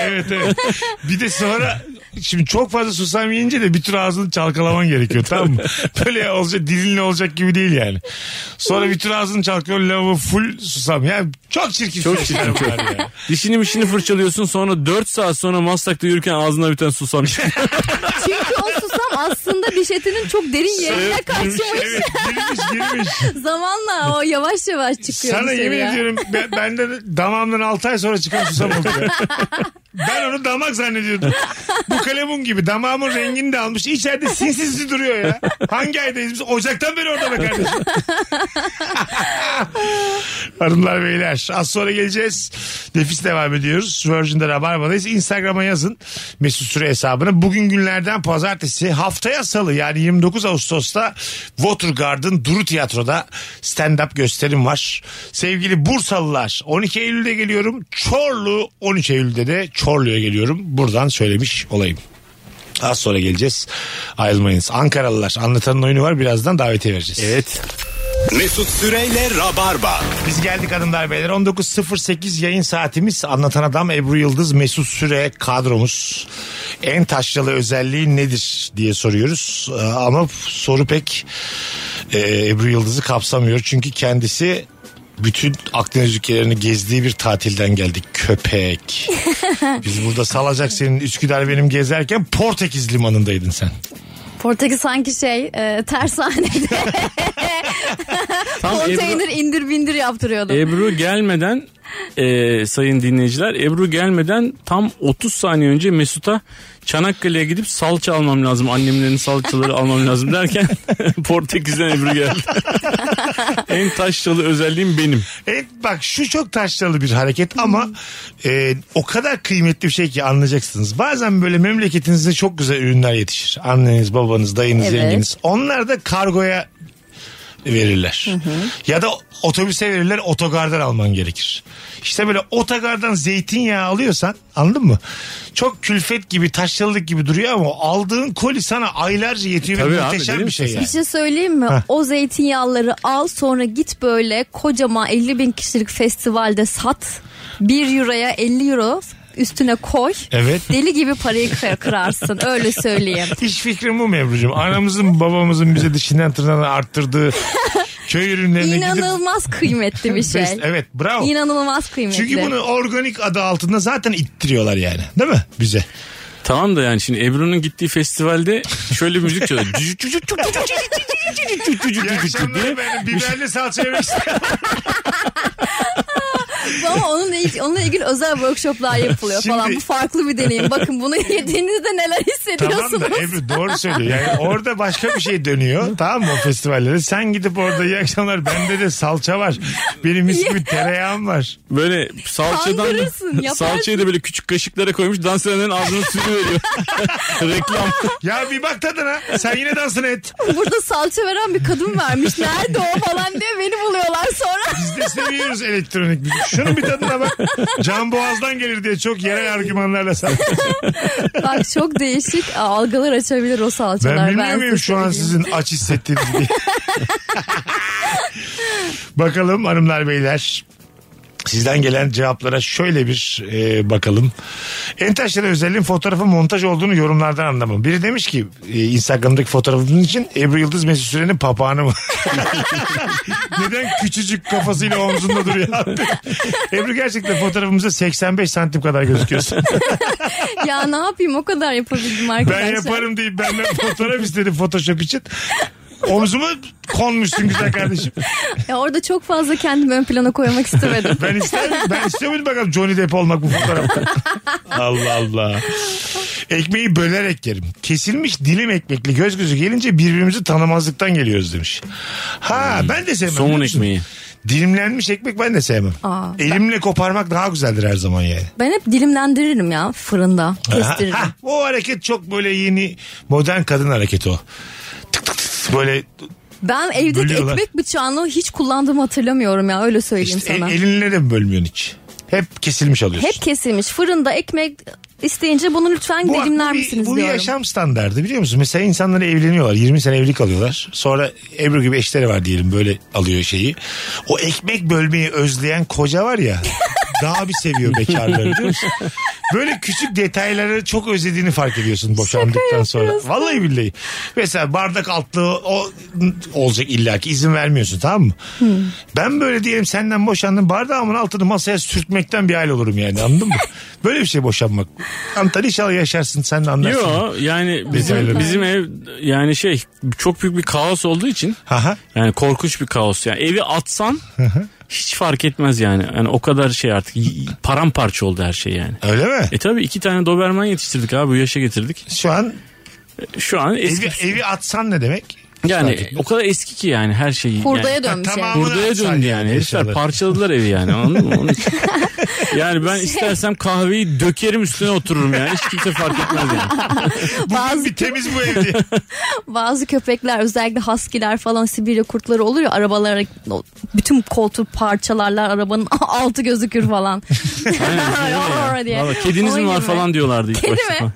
Speaker 3: evet evet. Bir de sonra şimdi çok fazla susam yiyince de bir tür ağzını çalkalaman gerekiyor tamam mı? Böyle olacak dilinle olacak gibi değil yani. Sonra bir tür ağzını çalkıyor lavabo full susam. Yani çok çirkin.
Speaker 4: Çok
Speaker 3: süreçler
Speaker 4: çirkin, çok.
Speaker 3: bunlar ya.
Speaker 4: Dişini mişini fırçalıyorsun sonra 4 saat sonra Maslak'ta yürürken ağzına bir tane susam çıkıyor.
Speaker 7: Çünkü o susam aslında diş etinin çok derin yerine kaçmış.
Speaker 3: Evet girmiş girmiş.
Speaker 7: Zamanla o yavaş yavaş çıkıyor.
Speaker 3: Sana yemin
Speaker 7: dışarıya.
Speaker 3: ediyorum ben, benden damağımdan 6 ay sonra çıkan susam oldu. ben onu damak zannediyordum. Bu kalemun gibi damağımın rengini de almış. İçeride sinsiz duruyor ya. Hangi aydayız biz? Ocaktan beri orada be kardeşim. Hanımlar beyler az sonra geleceğiz. Nefis devam ediyoruz. Virgin'de Rabarba'dayız. Instagram'a yazın Mesut Süre hesabını. Bugün günlerden pazartesi haftaya salı yani 29 Ağustos'ta Watergarden Duru Tiyatro'da stand-up gösterim var. Sevgili Bursalılar 12 Eylül'de geliyorum. Çorlu 13 Eylül'de de Çorlu'ya geliyorum. Buradan söylemiş olayım. Az sonra geleceğiz. Ayrılmayınız. Ankaralılar anlatanın oyunu var. Birazdan davetiye vereceğiz.
Speaker 4: Evet.
Speaker 2: Mesut Süreyle Rabarba.
Speaker 3: Biz geldik hanımlar beyler. 19.08 yayın saatimiz. Anlatan Adam Ebru Yıldız Mesut Süre kadromuz. En taşralı özelliği nedir diye soruyoruz. Ee, Ama soru pek e, Ebru Yıldız'ı kapsamıyor. Çünkü kendisi bütün Akdeniz ülkelerini gezdiği bir tatilden geldik. Köpek. Biz burada salacak senin Üsküdar benim gezerken Portekiz limanındaydın sen.
Speaker 7: Portekiz sanki şey e, tersanede
Speaker 4: Tam Ebru,
Speaker 7: konteyner indir bindir yaptırıyordu.
Speaker 4: Ebru gelmeden e, sayın dinleyiciler Ebru gelmeden tam 30 saniye önce Mesut'a Çanakkale'ye gidip salça almam lazım. Annemlerin salçaları almam lazım derken Portekiz'den Ebru geldi. en taşralı özelliğim benim.
Speaker 3: Evet E, bak şu çok taşralı bir hareket ama e, o kadar kıymetli bir şey ki anlayacaksınız. Bazen böyle memleketinizde çok güzel ürünler yetişir. Anneniz, babanız, dayınız,
Speaker 12: Evet.
Speaker 3: yengeniz. Onlar da kargoya verirler. Ya da otobüse verirler otogardan alman gerekir. İşte böyle otogardan zeytinyağı alıyorsan anladın mı? Çok külfet gibi taşralık gibi duruyor ama aldığın koli sana aylarca yetiyor ve
Speaker 4: E, Tabii abi,
Speaker 3: muhteşem
Speaker 4: değil
Speaker 3: bir
Speaker 4: mi?
Speaker 3: şey yani.
Speaker 7: Bir şey söyleyeyim mi?
Speaker 3: Heh.
Speaker 7: O zeytinyağları al sonra git böyle kocaman 50 bin kişilik festivalde sat. 1 euroya 50 euro üstüne koy.
Speaker 3: Evet.
Speaker 7: Deli gibi parayı kı- kırarsın öyle söyleyeyim.
Speaker 3: Hiç fikrim bu mu Ebru'cum? Anamızın babamızın bize dişinden tırnağına arttırdığı köy ürünlerine gidip...
Speaker 7: İnanılmaz kıymetli bir şey.
Speaker 3: Best- Evet bravo.
Speaker 7: İnanılmaz kıymetli.
Speaker 3: Çünkü bunu organik adı altında zaten ittiriyorlar yani. Değil mi bize?
Speaker 4: Tamam da yani şimdi Ebru'nun gittiği festivalde şöyle bir müzik çalıyor. Cücük cücük
Speaker 3: İyi akşamlar efendim. Biberli salça yemek istiyorum.
Speaker 7: Ama onunla ilgili, onunla ilgili özel workshoplar yapılıyor falan.
Speaker 3: Şimdi-
Speaker 7: Bu farklı bir deneyim. Bakın bunu yediğinizde neler hissediyorsunuz.
Speaker 3: Tamam da Ebru doğru söylüyor. Yani orada başka bir şey dönüyor. Tamam mı o festivallere? Sen gidip orada iyi akşamlar. Bende de salça var. Benim mis gibi tereyağım var.
Speaker 4: Böyle salçadan
Speaker 3: Kandırırsın, yaparsın.
Speaker 4: salçayı da böyle küçük kaşıklara koymuş dans edenlerin ağzına sürüveriyor. Reklam.
Speaker 3: Ya bir bak tadına. Sen yine dansını et.
Speaker 7: Burada salça veren bir kadın vermiş. Nerede o falan diye beni buluyorlar sonra.
Speaker 3: Biz de seviyoruz elektronik müzik. Şunun bir tadına bak. Can Boğaz'dan gelir diye çok yerel argümanlarla sen.
Speaker 7: Bak çok değişik algılar açabilir o salçalar.
Speaker 3: Ben bilmiyor muyum
Speaker 7: size
Speaker 3: şu an
Speaker 7: söyleyeyim.
Speaker 3: sizin aç hissettiğiniz diye. bakalım hanımlar beyler. Sizden gelen cevaplara şöyle bir e, bakalım. Entaşlara özelliğin fotoğrafın montaj olduğunu yorumlardan anlamam. Biri demiş ki e, Instagram'daki fotoğrafınız için Ebru Yıldız Mesut Süren'in papağanı mı? Neden küçücük kafasıyla omzunda duruyor? abi? Ebru gerçekten fotoğrafımızda 85 santim kadar gözüküyorsun.
Speaker 7: ya ne yapayım o kadar yapabildim arkadaşlar.
Speaker 3: Ben yaparım deyip benden fotoğraf istedi Photoshop için. Omzuma konmuşsun güzel kardeşim.
Speaker 7: Ya orada çok fazla kendimi ön plana koymak istemedim.
Speaker 3: Ben ister ben istiyor muydum bakalım Johnny Depp olmak bu fotoğrafta. Allah Allah. Ekmeği bölerek yerim. Kesilmiş dilim ekmekli göz gözü gelince birbirimizi tanımazlıktan geliyoruz demiş. Ha ben de sevmem.
Speaker 4: Hmm. somun
Speaker 3: biliyor musun?
Speaker 4: ekmeği.
Speaker 3: Dilimlenmiş ekmek ben de sevmem.
Speaker 7: Aa,
Speaker 3: Elimle koparmak daha güzeldir her zaman yani.
Speaker 7: Ben hep dilimlendiririm ya fırında. Kestiririm.
Speaker 3: Ha, o hareket çok böyle yeni modern kadın hareketi o. Tık tık tık böyle
Speaker 7: Ben evdeki
Speaker 3: Bölüyorlar.
Speaker 7: ekmek bıçağını hiç kullandığımı hatırlamıyorum ya öyle söyleyeyim
Speaker 3: İşte
Speaker 7: sana.
Speaker 3: e- elinle de mi bölmüyorsun hiç? Hep kesilmiş alıyorsun.
Speaker 7: Hep kesilmiş. Fırında ekmek isteyince bunu lütfen
Speaker 3: bu,
Speaker 7: dilimler
Speaker 3: bu bir-
Speaker 7: misiniz
Speaker 3: bu bir
Speaker 7: diyorum.
Speaker 3: yaşam standardı biliyor musun? Mesela insanlar evleniyorlar. 20 sene evlilik alıyorlar. Sonra Ebru gibi eşleri var diyelim böyle alıyor şeyi. O ekmek bölmeyi özleyen koca var ya. daha bir seviyor bekarları biliyor musun? Böyle küçük detayları çok özlediğini fark ediyorsun boşandıktan sonra. Vallahi billahi. Mesela bardak altlığı o olacak illaki izin vermiyorsun tamam mı? Ben böyle diyelim senden boşandım bardağımın altını masaya sürtmekten bir hal olurum yani anladın mı? Böyle bir şey boşanmak. Antalya inşallah yaşarsın sen de anlarsın.
Speaker 4: Yo yani bizim,
Speaker 3: Detayları.
Speaker 4: bizim ev yani şey çok büyük bir kaos olduğu için yani korkunç bir kaos. Yani evi atsan hiç fark etmez yani. Yani o kadar şey artık y- paramparça oldu her şey yani.
Speaker 3: Öyle mi?
Speaker 4: E tabi iki tane Doberman yetiştirdik abi bu yaşa getirdik.
Speaker 3: Şu an
Speaker 4: şu an eski.
Speaker 3: Evi, evi atsan ne demek?
Speaker 4: yani o kadar eski ki yani her şey şeyi.
Speaker 7: Hurdaya
Speaker 4: yani.
Speaker 7: dönmüş yani.
Speaker 4: Hurdaya döndü yani. Herifler
Speaker 3: eşyaları.
Speaker 4: parçaladılar evi yani. Anladın mı? Onun için- yani
Speaker 7: Şey-
Speaker 4: ben istersem kahveyi dökerim üstüne otururum yani. Hiç kimse fark etmez yani.
Speaker 3: Bugün bir temiz bu ev diye.
Speaker 7: Bazı köpekler özellikle haskiler falan Sibirya kurtları olur ya arabalara bütün koltuğu parçalarlar arabanın altı gözükür falan. Aynen, diye.
Speaker 4: Valla kediniz mi
Speaker 7: Onun
Speaker 4: var
Speaker 7: gibi.
Speaker 4: falan diyorlardı ilk
Speaker 7: Kedi
Speaker 4: başta.
Speaker 7: mi?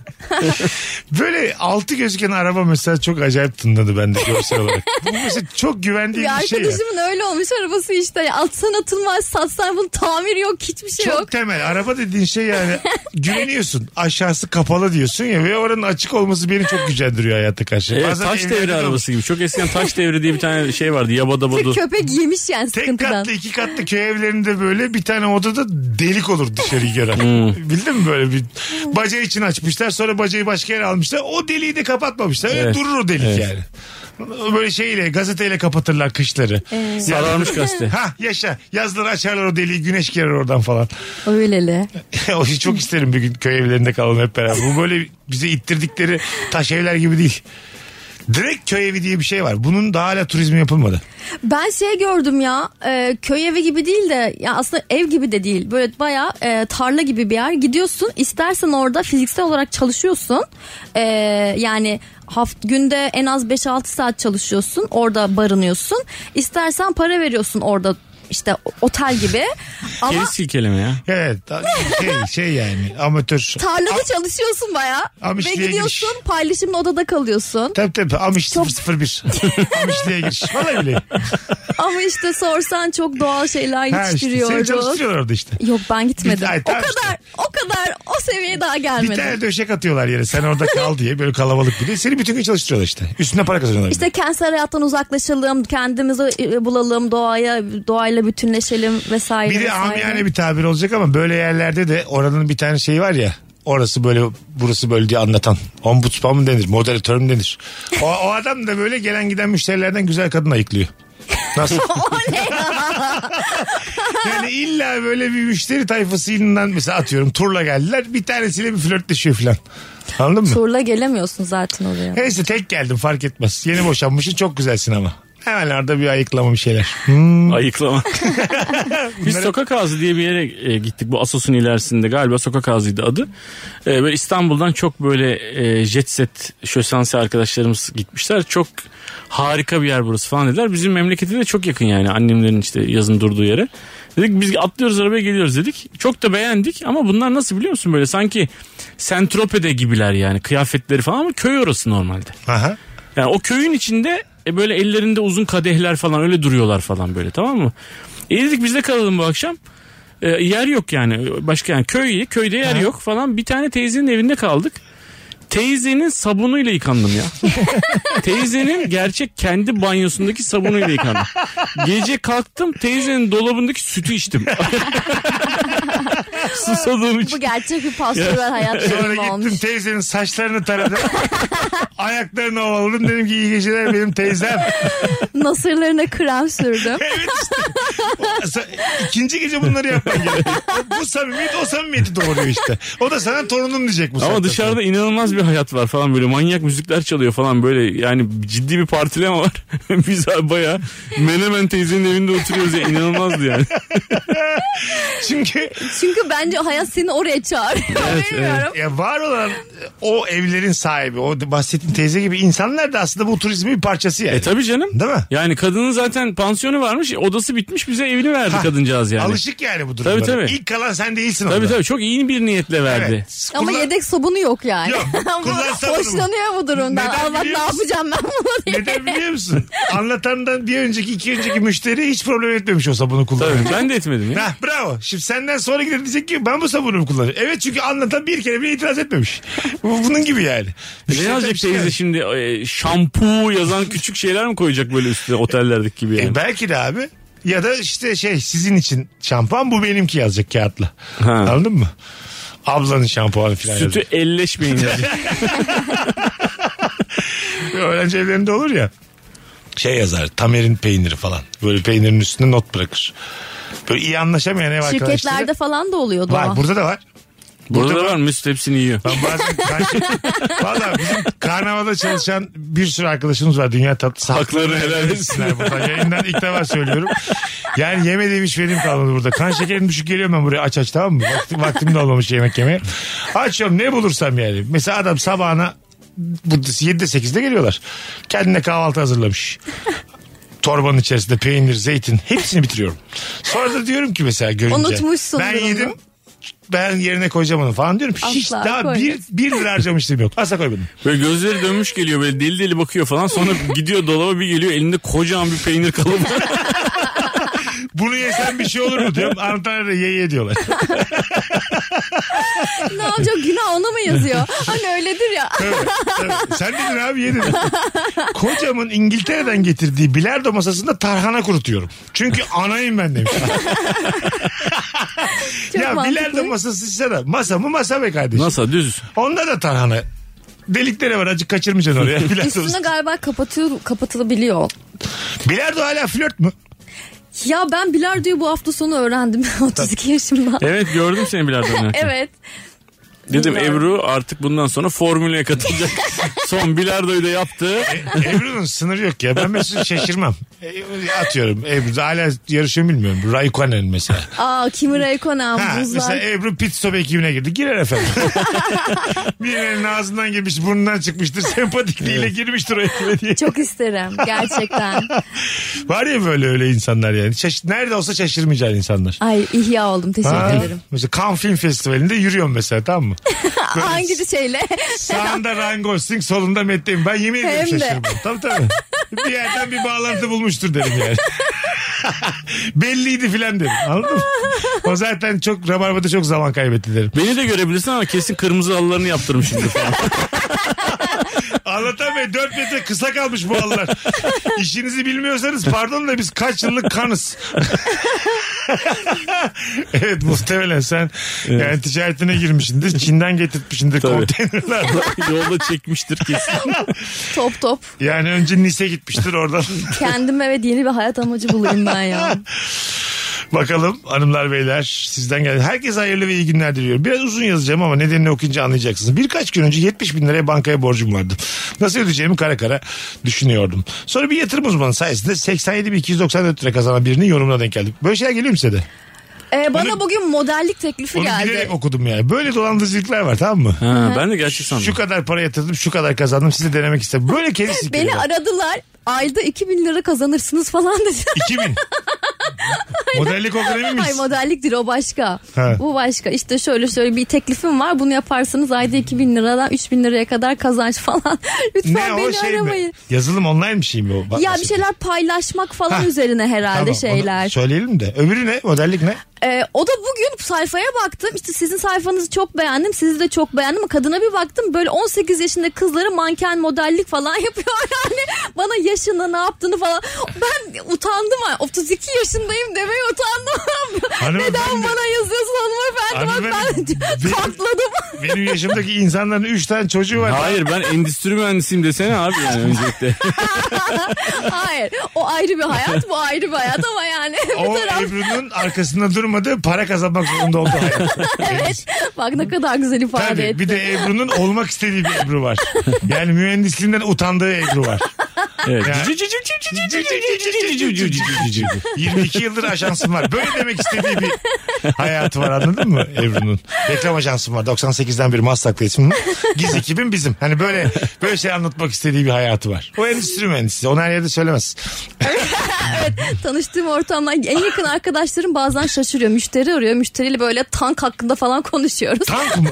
Speaker 3: Böyle altı gözüken araba mesela çok acayip tınladı bende görsel olarak. Bu mesela çok güvendiğim
Speaker 7: Bir
Speaker 3: bir şey. ya.
Speaker 7: arkadaşımın öyle olmuş arabası işte. Ya Atsan atılmaz satsan bunun tamir yok hiçbir şey
Speaker 3: Çok
Speaker 7: yok.
Speaker 3: temel. Araba dediğin şey yani güveniyorsun. Aşağısı kapalı diyorsun ya ve oranın açık olması beni çok gücendiriyor hayata karşı.
Speaker 4: Evet,
Speaker 3: Bazen
Speaker 4: taş
Speaker 3: evlerde
Speaker 4: devri
Speaker 3: de-
Speaker 4: arabası gibi. Çok eskiden taş devri diye bir tane şey vardı. Yabada
Speaker 7: Bir
Speaker 4: bodu.
Speaker 7: köpek yemiş yani
Speaker 3: Tek
Speaker 7: sıkıntıdan.
Speaker 3: katlı iki katlı köy evlerinde böyle bir tane odada delik olur dışarıyı gören.
Speaker 4: Hmm.
Speaker 3: Bildin mi böyle bir baca için açmışlar sonra bacayı başka yere almışlar. O deliği de kapatmamışlar. Öyle
Speaker 4: Evet.
Speaker 3: durur o delik
Speaker 4: Evet.
Speaker 3: yani. böyle şeyle gazeteyle kapatırlar kışları.
Speaker 7: Ee.
Speaker 4: Sararmış gazete.
Speaker 3: Ha yaşa. Yazları açarlar o deliği güneş girer oradan falan.
Speaker 7: Öyleli.
Speaker 3: o işi çok isterim bir gün köy evlerinde kalalım hep beraber. Bu böyle bize ittirdikleri taş evler gibi değil. Direkt köy evi diye bir şey var. Bunun daha hala turizmi yapılmadı.
Speaker 7: Ben şey gördüm ya e, köy evi gibi değil de ya aslında ev gibi de değil böyle baya tarla gibi bir yer gidiyorsun istersen orada fiziksel olarak çalışıyorsun E, yani haft günde en az 5-6 saat çalışıyorsun orada barınıyorsun istersen para veriyorsun orada işte otel gibi ama
Speaker 4: Keriz silkeleme ya.
Speaker 3: Evet. Şey, şey yani amatör.
Speaker 7: tarlada çalışıyorsun baya ve
Speaker 3: Amişliğe
Speaker 7: gidiyorsun paylaşımlı odada kalıyorsun
Speaker 3: Tabii tabii Amiş 001. Amiş diye giriş. Vallahi bile.
Speaker 7: ama işte sorsan çok doğal şeyler
Speaker 3: Ha işte, seni
Speaker 7: yetiştiriyoruz.
Speaker 3: çalıştırıyorlar orada işte.
Speaker 7: Yok ben gitmedim.
Speaker 3: Ay,
Speaker 7: o
Speaker 3: tamam
Speaker 7: kadar
Speaker 3: işte.
Speaker 7: o kadar o seviyeye daha
Speaker 3: Bir
Speaker 7: gelmedim.
Speaker 3: tane döşek atıyorlar yere. Sen orada kal diye böyle kalabalık biri. Seni bütün gün çalıştırıyorlar işte. Üstüne para kazanıyorlar.
Speaker 7: İşte kentsel hayattan uzaklaşalım, kendimizi e, bulalım, doğaya doğayla bütünleşelim vesaire.
Speaker 3: Biri
Speaker 7: vesaire.
Speaker 3: amiyane bir tabir olacak ama böyle yerlerde de oranın bir tane şeyi var ya. Orası böyle burası böyle diye anlatan. Ombudsman mı denir? Moderatör mü denir? O, o adam da böyle gelen giden müşterilerden güzel kadın ayıklıyor. Nasıl?
Speaker 7: o ne ya?
Speaker 3: Yani illa böyle bir müşteri tayfasından mesela atıyorum turla geldiler. Bir tanesiyle bir flörtleşiyor falan. Anladın mı?
Speaker 7: Turla gelemiyorsun zaten oraya.
Speaker 3: Neyse tek geldim fark etmez. Yeni boşanmışsın çok güzelsin ama. Hemen orada bir ayıklama bir şeyler. Hmm.
Speaker 4: Ayıklama. Biz
Speaker 3: Bunları-
Speaker 4: Sokak Ağzı diye bir yere e, gittik. Bu Asos'un ilerisinde galiba Sokak Ağzı'ydı adı. E, böyle İstanbul'dan çok böyle e, jet set şösansi arkadaşlarımız gitmişler. Çok harika bir yer burası falan dediler. Bizim memlekete de çok yakın yani annemlerin işte yazın durduğu yere. Dedik biz atlıyoruz arabaya geliyoruz dedik. Çok da beğendik ama bunlar nasıl biliyor musun böyle sanki Sentrope'de gibiler yani kıyafetleri falan ama köy orası normalde.
Speaker 3: Aha.
Speaker 4: Yani o köyün içinde e, böyle ellerinde uzun kadehler falan öyle duruyorlar falan böyle tamam mı? E dedik biz de kalalım bu akşam. E, yer yok yani başka yani köy köyde yer yok falan bir tane teyzenin evinde kaldık. Teyzenin sabunuyla yıkandım ya. teyzenin gerçek kendi banyosundaki sabunuyla yıkandım. Gece kalktım teyzenin dolabındaki sütü içtim. Susadığım
Speaker 7: Bu
Speaker 4: için.
Speaker 7: gerçek bir pastoral hayat
Speaker 3: Sonra
Speaker 7: durumu
Speaker 3: gittim
Speaker 7: olmuş.
Speaker 3: teyzenin saçlarını taradım. Ayaklarını ovaladım. Dedim ki iyi geceler benim teyzem.
Speaker 7: Nasırlarına krem sürdüm.
Speaker 3: Sa- İkinci gece bunları yapman gerekiyor. Bu samimiyet o samimiyeti doğuruyor işte. O da sana torunum diyecek bu saatten
Speaker 4: Ama dışarıda inanılmaz bir hayat var falan böyle manyak müzikler çalıyor falan böyle yani ciddi bir partileme var. Biz baya Menemen teyzenin evinde oturuyoruz ya inanılmazdı yani.
Speaker 3: sonra. Çünkü
Speaker 7: Çünkü bence hayat seni oraya çağırıyor. Bilmiyorum.
Speaker 3: ya E, var olan o evlerin sahibi o bahsettiğin teyze gibi insanlar da aslında bu turizmin bir parçası yani.
Speaker 4: E tabi canım.
Speaker 3: Değil mi?
Speaker 4: Yani kadının zaten pansiyonu varmış odası bitmiş bize evini verdi kadıncağız yani.
Speaker 3: Alışık yani bu durumlara.
Speaker 4: Tabii, tabii.
Speaker 3: İlk kalan sen değilsin
Speaker 4: Tabii
Speaker 3: orada.
Speaker 4: tabii çok iyi bir niyetle verdi.
Speaker 3: Evet.
Speaker 7: Ama
Speaker 3: Kullan-
Speaker 7: yedek sabunu yok yani.
Speaker 3: Yok,
Speaker 7: Bu-
Speaker 3: kullan sabunu.
Speaker 7: Hoşlanıyor bu durumdan.
Speaker 3: Neden
Speaker 7: Allah ne
Speaker 3: biliyor musun?
Speaker 7: yapacağım ben bunu diye.
Speaker 3: Neden biliyor musun? Anlatandan bir önceki iki önceki müşteri hiç problem etmemiş o sabunu kullanıyor.
Speaker 4: Tabii ben de etmedim ya.
Speaker 3: Hah, bravo. Şimdi senden sonra gider diyecek ki ben bu sabunu mu kullanıyorum? Evet çünkü anlatan bir kere bile itiraz etmemiş. Bu- Bunun gibi yani.
Speaker 4: Ne yazacak teyze şimdi e, şampu yazan küçük şeyler mi koyacak böyle üstüne otellerdeki gibi yani.
Speaker 3: E, belki de abi. Ya da işte şey sizin için şampuan bu benimki yazacak kağıtla.
Speaker 4: Ha.
Speaker 3: Anladın mı? Ablanın şampuanı falan
Speaker 4: Sütü
Speaker 3: yazacak.
Speaker 4: elleşmeyin yazacak.
Speaker 3: Öğrenci evlerinde olur ya. Şey yazar tamerin peyniri falan. Böyle peynirin üstüne not bırakır. Böyle iyi anlaşamayan ev arkadaşları.
Speaker 7: Şirketlerde falan da oluyordu
Speaker 3: Var
Speaker 7: o.
Speaker 3: burada da var.
Speaker 4: Burada
Speaker 3: Burada
Speaker 4: var mı Mesut hepsini yiyor.
Speaker 3: Ben bazen ben şey- Valla bizim karnavalda çalışan bir sürü arkadaşımız var. Dünya tatlısı.
Speaker 4: Haklarını helal
Speaker 3: etsinler buradan. Yayından ilk defa söylüyorum. Yani yemediğim benim kalmadı burada. Kan şekerim düşük geliyor ben buraya aç aç tamam mı? Vaktim, vaktim de olmamış yemek yemeye. Açıyorum ne bulursam yani. Mesela adam sabahına burada 7'de 8'de geliyorlar. Kendine kahvaltı hazırlamış. Torbanın içerisinde peynir, zeytin hepsini bitiriyorum. Sonra da diyorum ki mesela görünce.
Speaker 7: Unutmuşsundur
Speaker 3: Ben
Speaker 7: onu."
Speaker 3: yedim ben yerine koyacağım onu falan diyorum. Hiç
Speaker 7: Asla
Speaker 3: daha
Speaker 7: koymadım.
Speaker 3: bir, bir lira harcamıştım yok. Asla koymadım.
Speaker 4: Böyle gözleri dönmüş geliyor böyle deli deli bakıyor falan. Sonra gidiyor dolaba bir geliyor elinde kocaman bir peynir kalıbı.
Speaker 3: Bunu yesen bir şey olur mu diyorum. Antalya'da ye ye diyorlar.
Speaker 7: ne yapacak günah ona mı yazıyor? Hani öyledir ya.
Speaker 3: Evet, evet. Sen dedin abi ye dedin. Kocamın İngiltere'den getirdiği bilardo masasında tarhana kurutuyorum. Çünkü anayım ben demiş.
Speaker 7: Çok
Speaker 3: ya
Speaker 7: mantıklı.
Speaker 3: bilardo masası size de masa mı masa be kardeşim.
Speaker 4: Nasıl düz?
Speaker 3: Onda da tarhana delikleri var acık kaçırmayacaksın oraya. Bilardo,
Speaker 7: Üstüne galiba kapatıyor, kapatılabiliyor.
Speaker 3: bilardo hala flört mü?
Speaker 7: Ya ben bilardoyu bu hafta sonu öğrendim 32 yaşımda.
Speaker 4: Evet gördüm seni bilardo oynarken.
Speaker 7: evet.
Speaker 4: Dedim
Speaker 7: Bilmiyorum.
Speaker 4: Ebru artık bundan sonra formüle katılacak. Son bilardoyu da yaptı.
Speaker 3: Ebru'nun sınırı yok ya. Ben mesela şaşırmam. E, Atıyorum Ebru hala yarışıyor bilmiyorum. Raikkonen mesela.
Speaker 7: Aa Kimi
Speaker 3: Ha,
Speaker 7: Räikkönen
Speaker 3: mesela
Speaker 7: buzlar.
Speaker 3: Ebru pit stop ekibine girdi. Girer efendim. Birinin ağzından girmiş burnundan çıkmıştır. Sempatikliğiyle girmiştir o ekibe diye.
Speaker 7: Çok isterim gerçekten.
Speaker 3: Var ya böyle öyle insanlar yani. Şaş- Nerede olsa şaşırmayacağın insanlar.
Speaker 7: Ay ihya oldum teşekkür
Speaker 3: Ha,
Speaker 7: ederim.
Speaker 3: Mesela Cannes Film Festivali'nde yürüyorum mesela tamam mı?
Speaker 7: Hangi şeyle?
Speaker 3: Sağında Ryan Gosling, solunda Matt Damon. Ben yemin ediyorum
Speaker 7: Hem de.
Speaker 3: şaşırmam. Tabii tabii. Bir yerden bir bağlantı bulmuştur derim yani. Belliydi filan derim. Anladın mı? O zaten çok rabarbada çok zaman kaybetti derim.
Speaker 4: Beni de görebilirsin ama kesin kırmızı halılarını yaptırmışımdır falan.
Speaker 3: Anlatan Bey 4 metre kısa kalmış bu halılar. İşinizi bilmiyorsanız pardon da biz kaç yıllık kanız. evet muhtemelen sen yani ticaretine girmişsindir. Çin'den getirtmişsindir
Speaker 4: Tabii.
Speaker 3: konteynerler.
Speaker 4: Yolda çekmiştir kesin.
Speaker 7: top top.
Speaker 3: Yani önce Nice gitmiştir oradan.
Speaker 7: Kendime evet yeni bir hayat amacı bulayım ben ya.
Speaker 3: Bakalım hanımlar beyler sizden geldi. Herkese hayırlı ve iyi günler diliyorum. Biraz uzun yazacağım ama nedenini okuyunca anlayacaksınız. Birkaç gün önce 70 bin liraya bankaya borcum vardı. Nasıl ödeyeceğimi kara kara düşünüyordum. Sonra bir yatırım uzmanı sayesinde 87 294 lira kazanan birinin yorumuna denk geldim. Böyle şeyler geliyor mu size de?
Speaker 7: Ee, bana bugün modellik teklifi
Speaker 3: Onu
Speaker 7: geldi.
Speaker 3: bilerek okudum yani. Böyle dolandırıcılıklar var tamam mı?
Speaker 4: Ha, ben de gerçek
Speaker 3: Şu
Speaker 4: sandım.
Speaker 3: kadar para yatırdım şu kadar kazandım size denemek istedim. Böyle kendisi
Speaker 7: Beni aradılar. Ayda 2000 lira kazanırsınız falan dedi.
Speaker 3: 2000. Modellik okudun
Speaker 7: Ay
Speaker 3: miyiz?
Speaker 7: modelliktir o başka.
Speaker 3: Ha.
Speaker 7: Bu başka. İşte şöyle şöyle bir teklifim var. Bunu yaparsanız ayda 2000 liradan 3000 liraya kadar kazanç falan. Lütfen
Speaker 3: Ne o
Speaker 7: beni
Speaker 3: şey
Speaker 7: aramayın.
Speaker 3: mi? Yazılım online bir şey mi o? Bak-
Speaker 7: Ya bir şeyler paylaşmak falan
Speaker 3: Ha.
Speaker 7: üzerine herhalde
Speaker 3: Tamam, onu
Speaker 7: şeyler.
Speaker 3: Söyleyelim de. Öbürü ne? Modellik ne?
Speaker 7: Ee, o da bugün sayfaya baktım. İşte sizin sayfanızı çok beğendim. Sizi de çok beğendim. Kadına bir baktım. Böyle 18 yaşında kızları manken modellik falan yapıyor. Yani bana yaşını ne yaptığını falan. Ben utandım. ha. 32 yaşındayım demeye utandım.
Speaker 3: Hanımefendi-
Speaker 7: Neden bana yazıyorsun hanımefendi?
Speaker 3: Hanımefendi,
Speaker 7: Ben
Speaker 3: benim-
Speaker 7: patladım.
Speaker 3: Benim yaşımdaki insanların 3 tane çocuğu var.
Speaker 4: Hayır ben endüstri mühendisiyim desene abi yani öncelikle.
Speaker 7: Hayır. O ayrı bir hayat. Bu ayrı bir hayat ama yani.
Speaker 3: O
Speaker 7: bir taraf...
Speaker 3: Ebru'nun arkasında durmadı. Para kazanmak zorunda oldu hayat.
Speaker 7: Evet. Bak ne kadar güzel ifade
Speaker 3: Tabii.
Speaker 7: etti.
Speaker 3: Bir de Ebru'nun olmak istediği bir Ebru var. Yani mühendisliğinden utandığı Ebru var.
Speaker 4: Evet.
Speaker 3: Ya. 22 yıldır ajansım var. Böyle demek istediği bir hayatı var anladın mı Ebru'nun? Reklam ajansım var. 98'den beri Maslak'ta ismim. Giz ekibim bizim. Hani böyle böyle şey anlatmak istediği bir hayatı var. O endüstri mühendisi. Onu her yerde söylemez.
Speaker 7: Tanıştığım ortamlar en yakın arkadaşlarım bazen şaşırıyor. Müşteri arıyor. Müşteriyle böyle tank hakkında falan konuşuyoruz.
Speaker 3: Tank mı?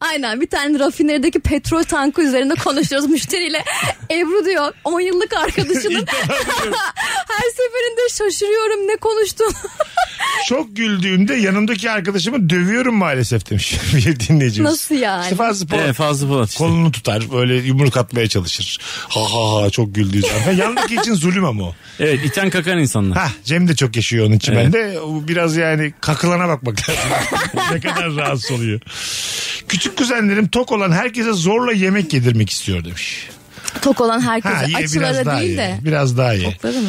Speaker 7: Aynen bir tane rafinerideki petrol tankı üzerinde konuşuyoruz müşteriyle. Ebru diyor 10 yıllık arkadaşının her seferinde şaşırıyorum ne konuştun.
Speaker 3: Çok güldüğümde yanımdaki arkadaşımı dövüyorum maalesef demiş bir dinleyicimiz.
Speaker 7: Nasıl yani?
Speaker 3: İşte fazla po-
Speaker 4: Evet fazla Polat işte.
Speaker 3: kolunu tutar böyle yumruk atmaya çalışır. Ha ha ha çok güldüğü zaman. Yanındaki için zulüm ama o.
Speaker 4: Evet iten kakan insanlar.
Speaker 3: Ha Cem de çok yaşıyor onun için bende. O Biraz yani kakılana bakmak lazım. ne kadar rahatsız oluyor. Küçük kuzenlerim tok olan herkese zorla yemek yedirmek istiyor demiş.
Speaker 7: Tok olan herkese
Speaker 3: Ha ye biraz
Speaker 7: açılara
Speaker 3: daha
Speaker 7: değil
Speaker 3: ye.
Speaker 7: de.
Speaker 3: Biraz daha ye.
Speaker 7: Tokları mı?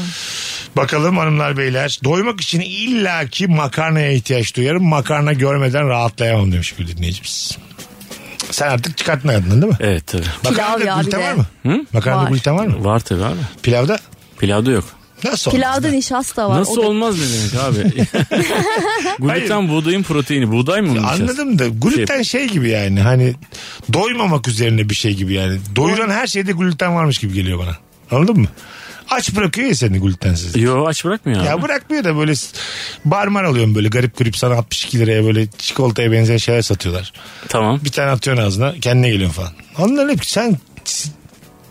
Speaker 3: Bakalım hanımlar beyler. Doymak için illaki makarnaya ihtiyaç duyarım. Makarna görmeden rahatlayamam demiş bir dinleyicimiz. Sen artık çıkarttın hayatından değil mi?
Speaker 4: Evet tabii.
Speaker 3: Makarnada
Speaker 7: Pilav ya
Speaker 3: gluten
Speaker 7: bir de.
Speaker 3: var mı?
Speaker 4: Hı?
Speaker 3: Makarnada
Speaker 7: Var.
Speaker 3: gluten var mı?
Speaker 4: Var tabii abi.
Speaker 3: Pilavda?
Speaker 4: Pilavda yok.
Speaker 3: Nasıl olmaz?
Speaker 7: Pilavda nişasta var.
Speaker 4: Nasıl
Speaker 7: O da-
Speaker 4: olmaz ne demek abi? Gluten buğdayın proteini. Buğday mı? bunun içerisinde?
Speaker 3: Anladım da gluten şey gibi yani hani doymamak üzerine bir şey gibi yani. Doyuran her şeyde gluten varmış gibi geliyor bana. Anladın mı? Aç bırakıyor ya seni glutensiz.
Speaker 4: Yo aç bırakmıyor abi.
Speaker 3: Ya bırakmıyor da böyle s- barman alıyorum böyle garip garip sana 62 liraya böyle çikolataya benzeyen şeyler satıyorlar.
Speaker 4: Tamam.
Speaker 3: Bir tane atıyorsun ağzına kendine geliyorsun falan. Onların hep sen s-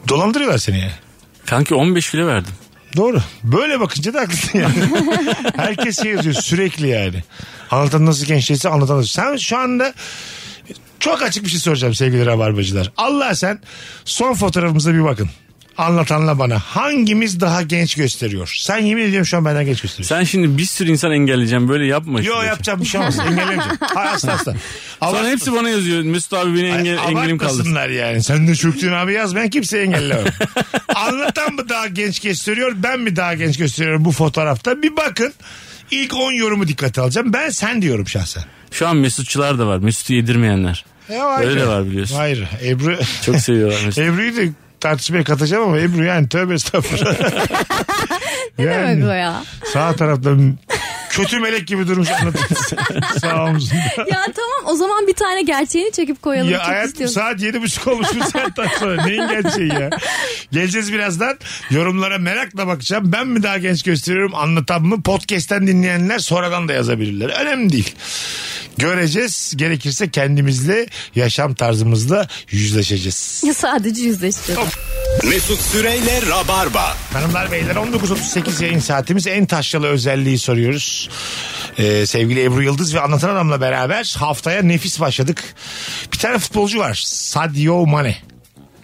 Speaker 3: dolandırıyorlar seni yani.
Speaker 4: Kanki 15 kilo verdim.
Speaker 3: Doğru. Böyle bakınca da haklısın yani. Herkes şey yazıyor sürekli yani. Anlatan nasıl gençleşse anlatan nasıl. Sen şu anda çok açık bir şey soracağım sevgili rabarbacılar. Allah sen son fotoğrafımıza bir bakın. Anlatanla bana. Hangimiz daha genç gösteriyor? Sen yemin ediyorum şu an benden genç gösteriyorsun.
Speaker 4: Sen şimdi bir sürü insan engelleyeceksin böyle yapma.
Speaker 3: Yo yapacağım bir şey olmaz. Engelleyeceğim. Hayır asla asla.
Speaker 4: Sonra hepsi bana yazıyor. Mesut abi beni enge- engelim kaldı.
Speaker 3: Abartmasınlar yani. Sen de çöktün abi yaz. Ben kimseyi engellemem. Anlatan mı daha genç gösteriyor? Ben mi daha genç gösteriyorum bu fotoğrafta? Bir bakın. İlk 10 yorumu dikkate alacağım. Ben sen diyorum şahsen.
Speaker 4: Şu an Mesutçular da var. Mesut'u yedirmeyenler.
Speaker 3: E, o ayrı.
Speaker 4: Öyle de var biliyorsun.
Speaker 3: Hayır. Ebru...
Speaker 4: Çok seviyorlar Mesut'u.
Speaker 3: Ebru'yu da tartışmaya katacağım ama Ebru yani tövbe estağfurullah.
Speaker 7: Ne
Speaker 3: Yani
Speaker 7: demek o ya?
Speaker 3: Sağ tarafta kötü melek gibi durmuş anlatıyorsun. Sağ omzunda.
Speaker 7: Ya tamam o zaman bir tane gerçeğini çekip koyalım.
Speaker 3: Ya
Speaker 7: Çok
Speaker 3: hayatım
Speaker 7: istiyorum.
Speaker 3: saat yedi buçuk olmuş bu saatten sonra. Neyin gerçeği ya? Geleceğiz birazdan. Yorumlara merakla bakacağım. Ben mi daha genç gösteriyorum anlatan mı? Podcast'ten dinleyenler sonradan da yazabilirler. Önemli değil. Göreceğiz. Gerekirse kendimizle, yaşam tarzımızla yüzleşeceğiz.
Speaker 7: Ya sadece yüzleşti.
Speaker 2: Mesut Süreyle Rabarba.
Speaker 3: Hanımlar beyler 19.38 yayın saatimiz en taşralı özelliği soruyoruz. Ee, sevgili Ebru Yıldız ve Anlatan Adam'la beraber haftaya nefis başladık. Bir tane futbolcu var Sadio Mane.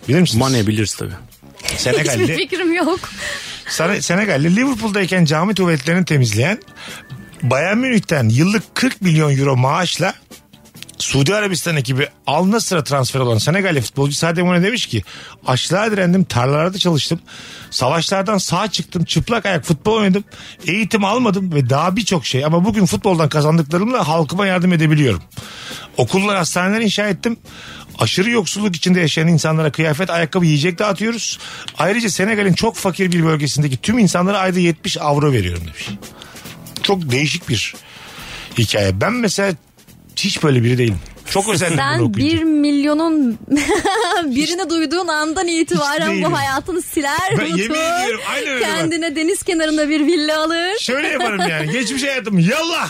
Speaker 3: Bilir misiniz?
Speaker 4: Mane biliriz tabii.
Speaker 7: Hiçbir
Speaker 3: Senegalli.
Speaker 7: fikrim yok.
Speaker 3: Sana- Senegalli Liverpool'dayken cami tuvaletlerini temizleyen Bayern Münih'ten yıllık 40 milyon euro maaşla Suudi Arabistan ekibi Al Nasır'a transfer olan Senegalli futbolcu Sadio Mane demiş ki açlığa direndim, tarlalarda çalıştım, savaşlardan sağ çıktım, çıplak ayak futbol oynadım, eğitim almadım ve daha birçok şey ama bugün futboldan kazandıklarımla halkıma yardım edebiliyorum. Okullar, hastaneler inşa ettim. Aşırı yoksulluk içinde yaşayan insanlara kıyafet, ayakkabı, yiyecek dağıtıyoruz. Ayrıca Senegal'in çok fakir bir bölgesindeki tüm insanlara ayda 70 avro veriyorum demiş. Çok değişik bir hikaye. Ben mesela hiç böyle biri değilim. Çok özendim bunu
Speaker 7: Sen
Speaker 3: okuyunca.
Speaker 7: bir milyonun birini duyduğun andan itibaren
Speaker 3: değilim.
Speaker 7: bu hayatını siler
Speaker 3: Ben yemin
Speaker 7: unutur.
Speaker 3: ediyorum, aynen öyle bak.
Speaker 7: Kendine deniz kenarında bir villa alır.
Speaker 3: Şöyle yaparım yani. Geçmiş hayatım yallah.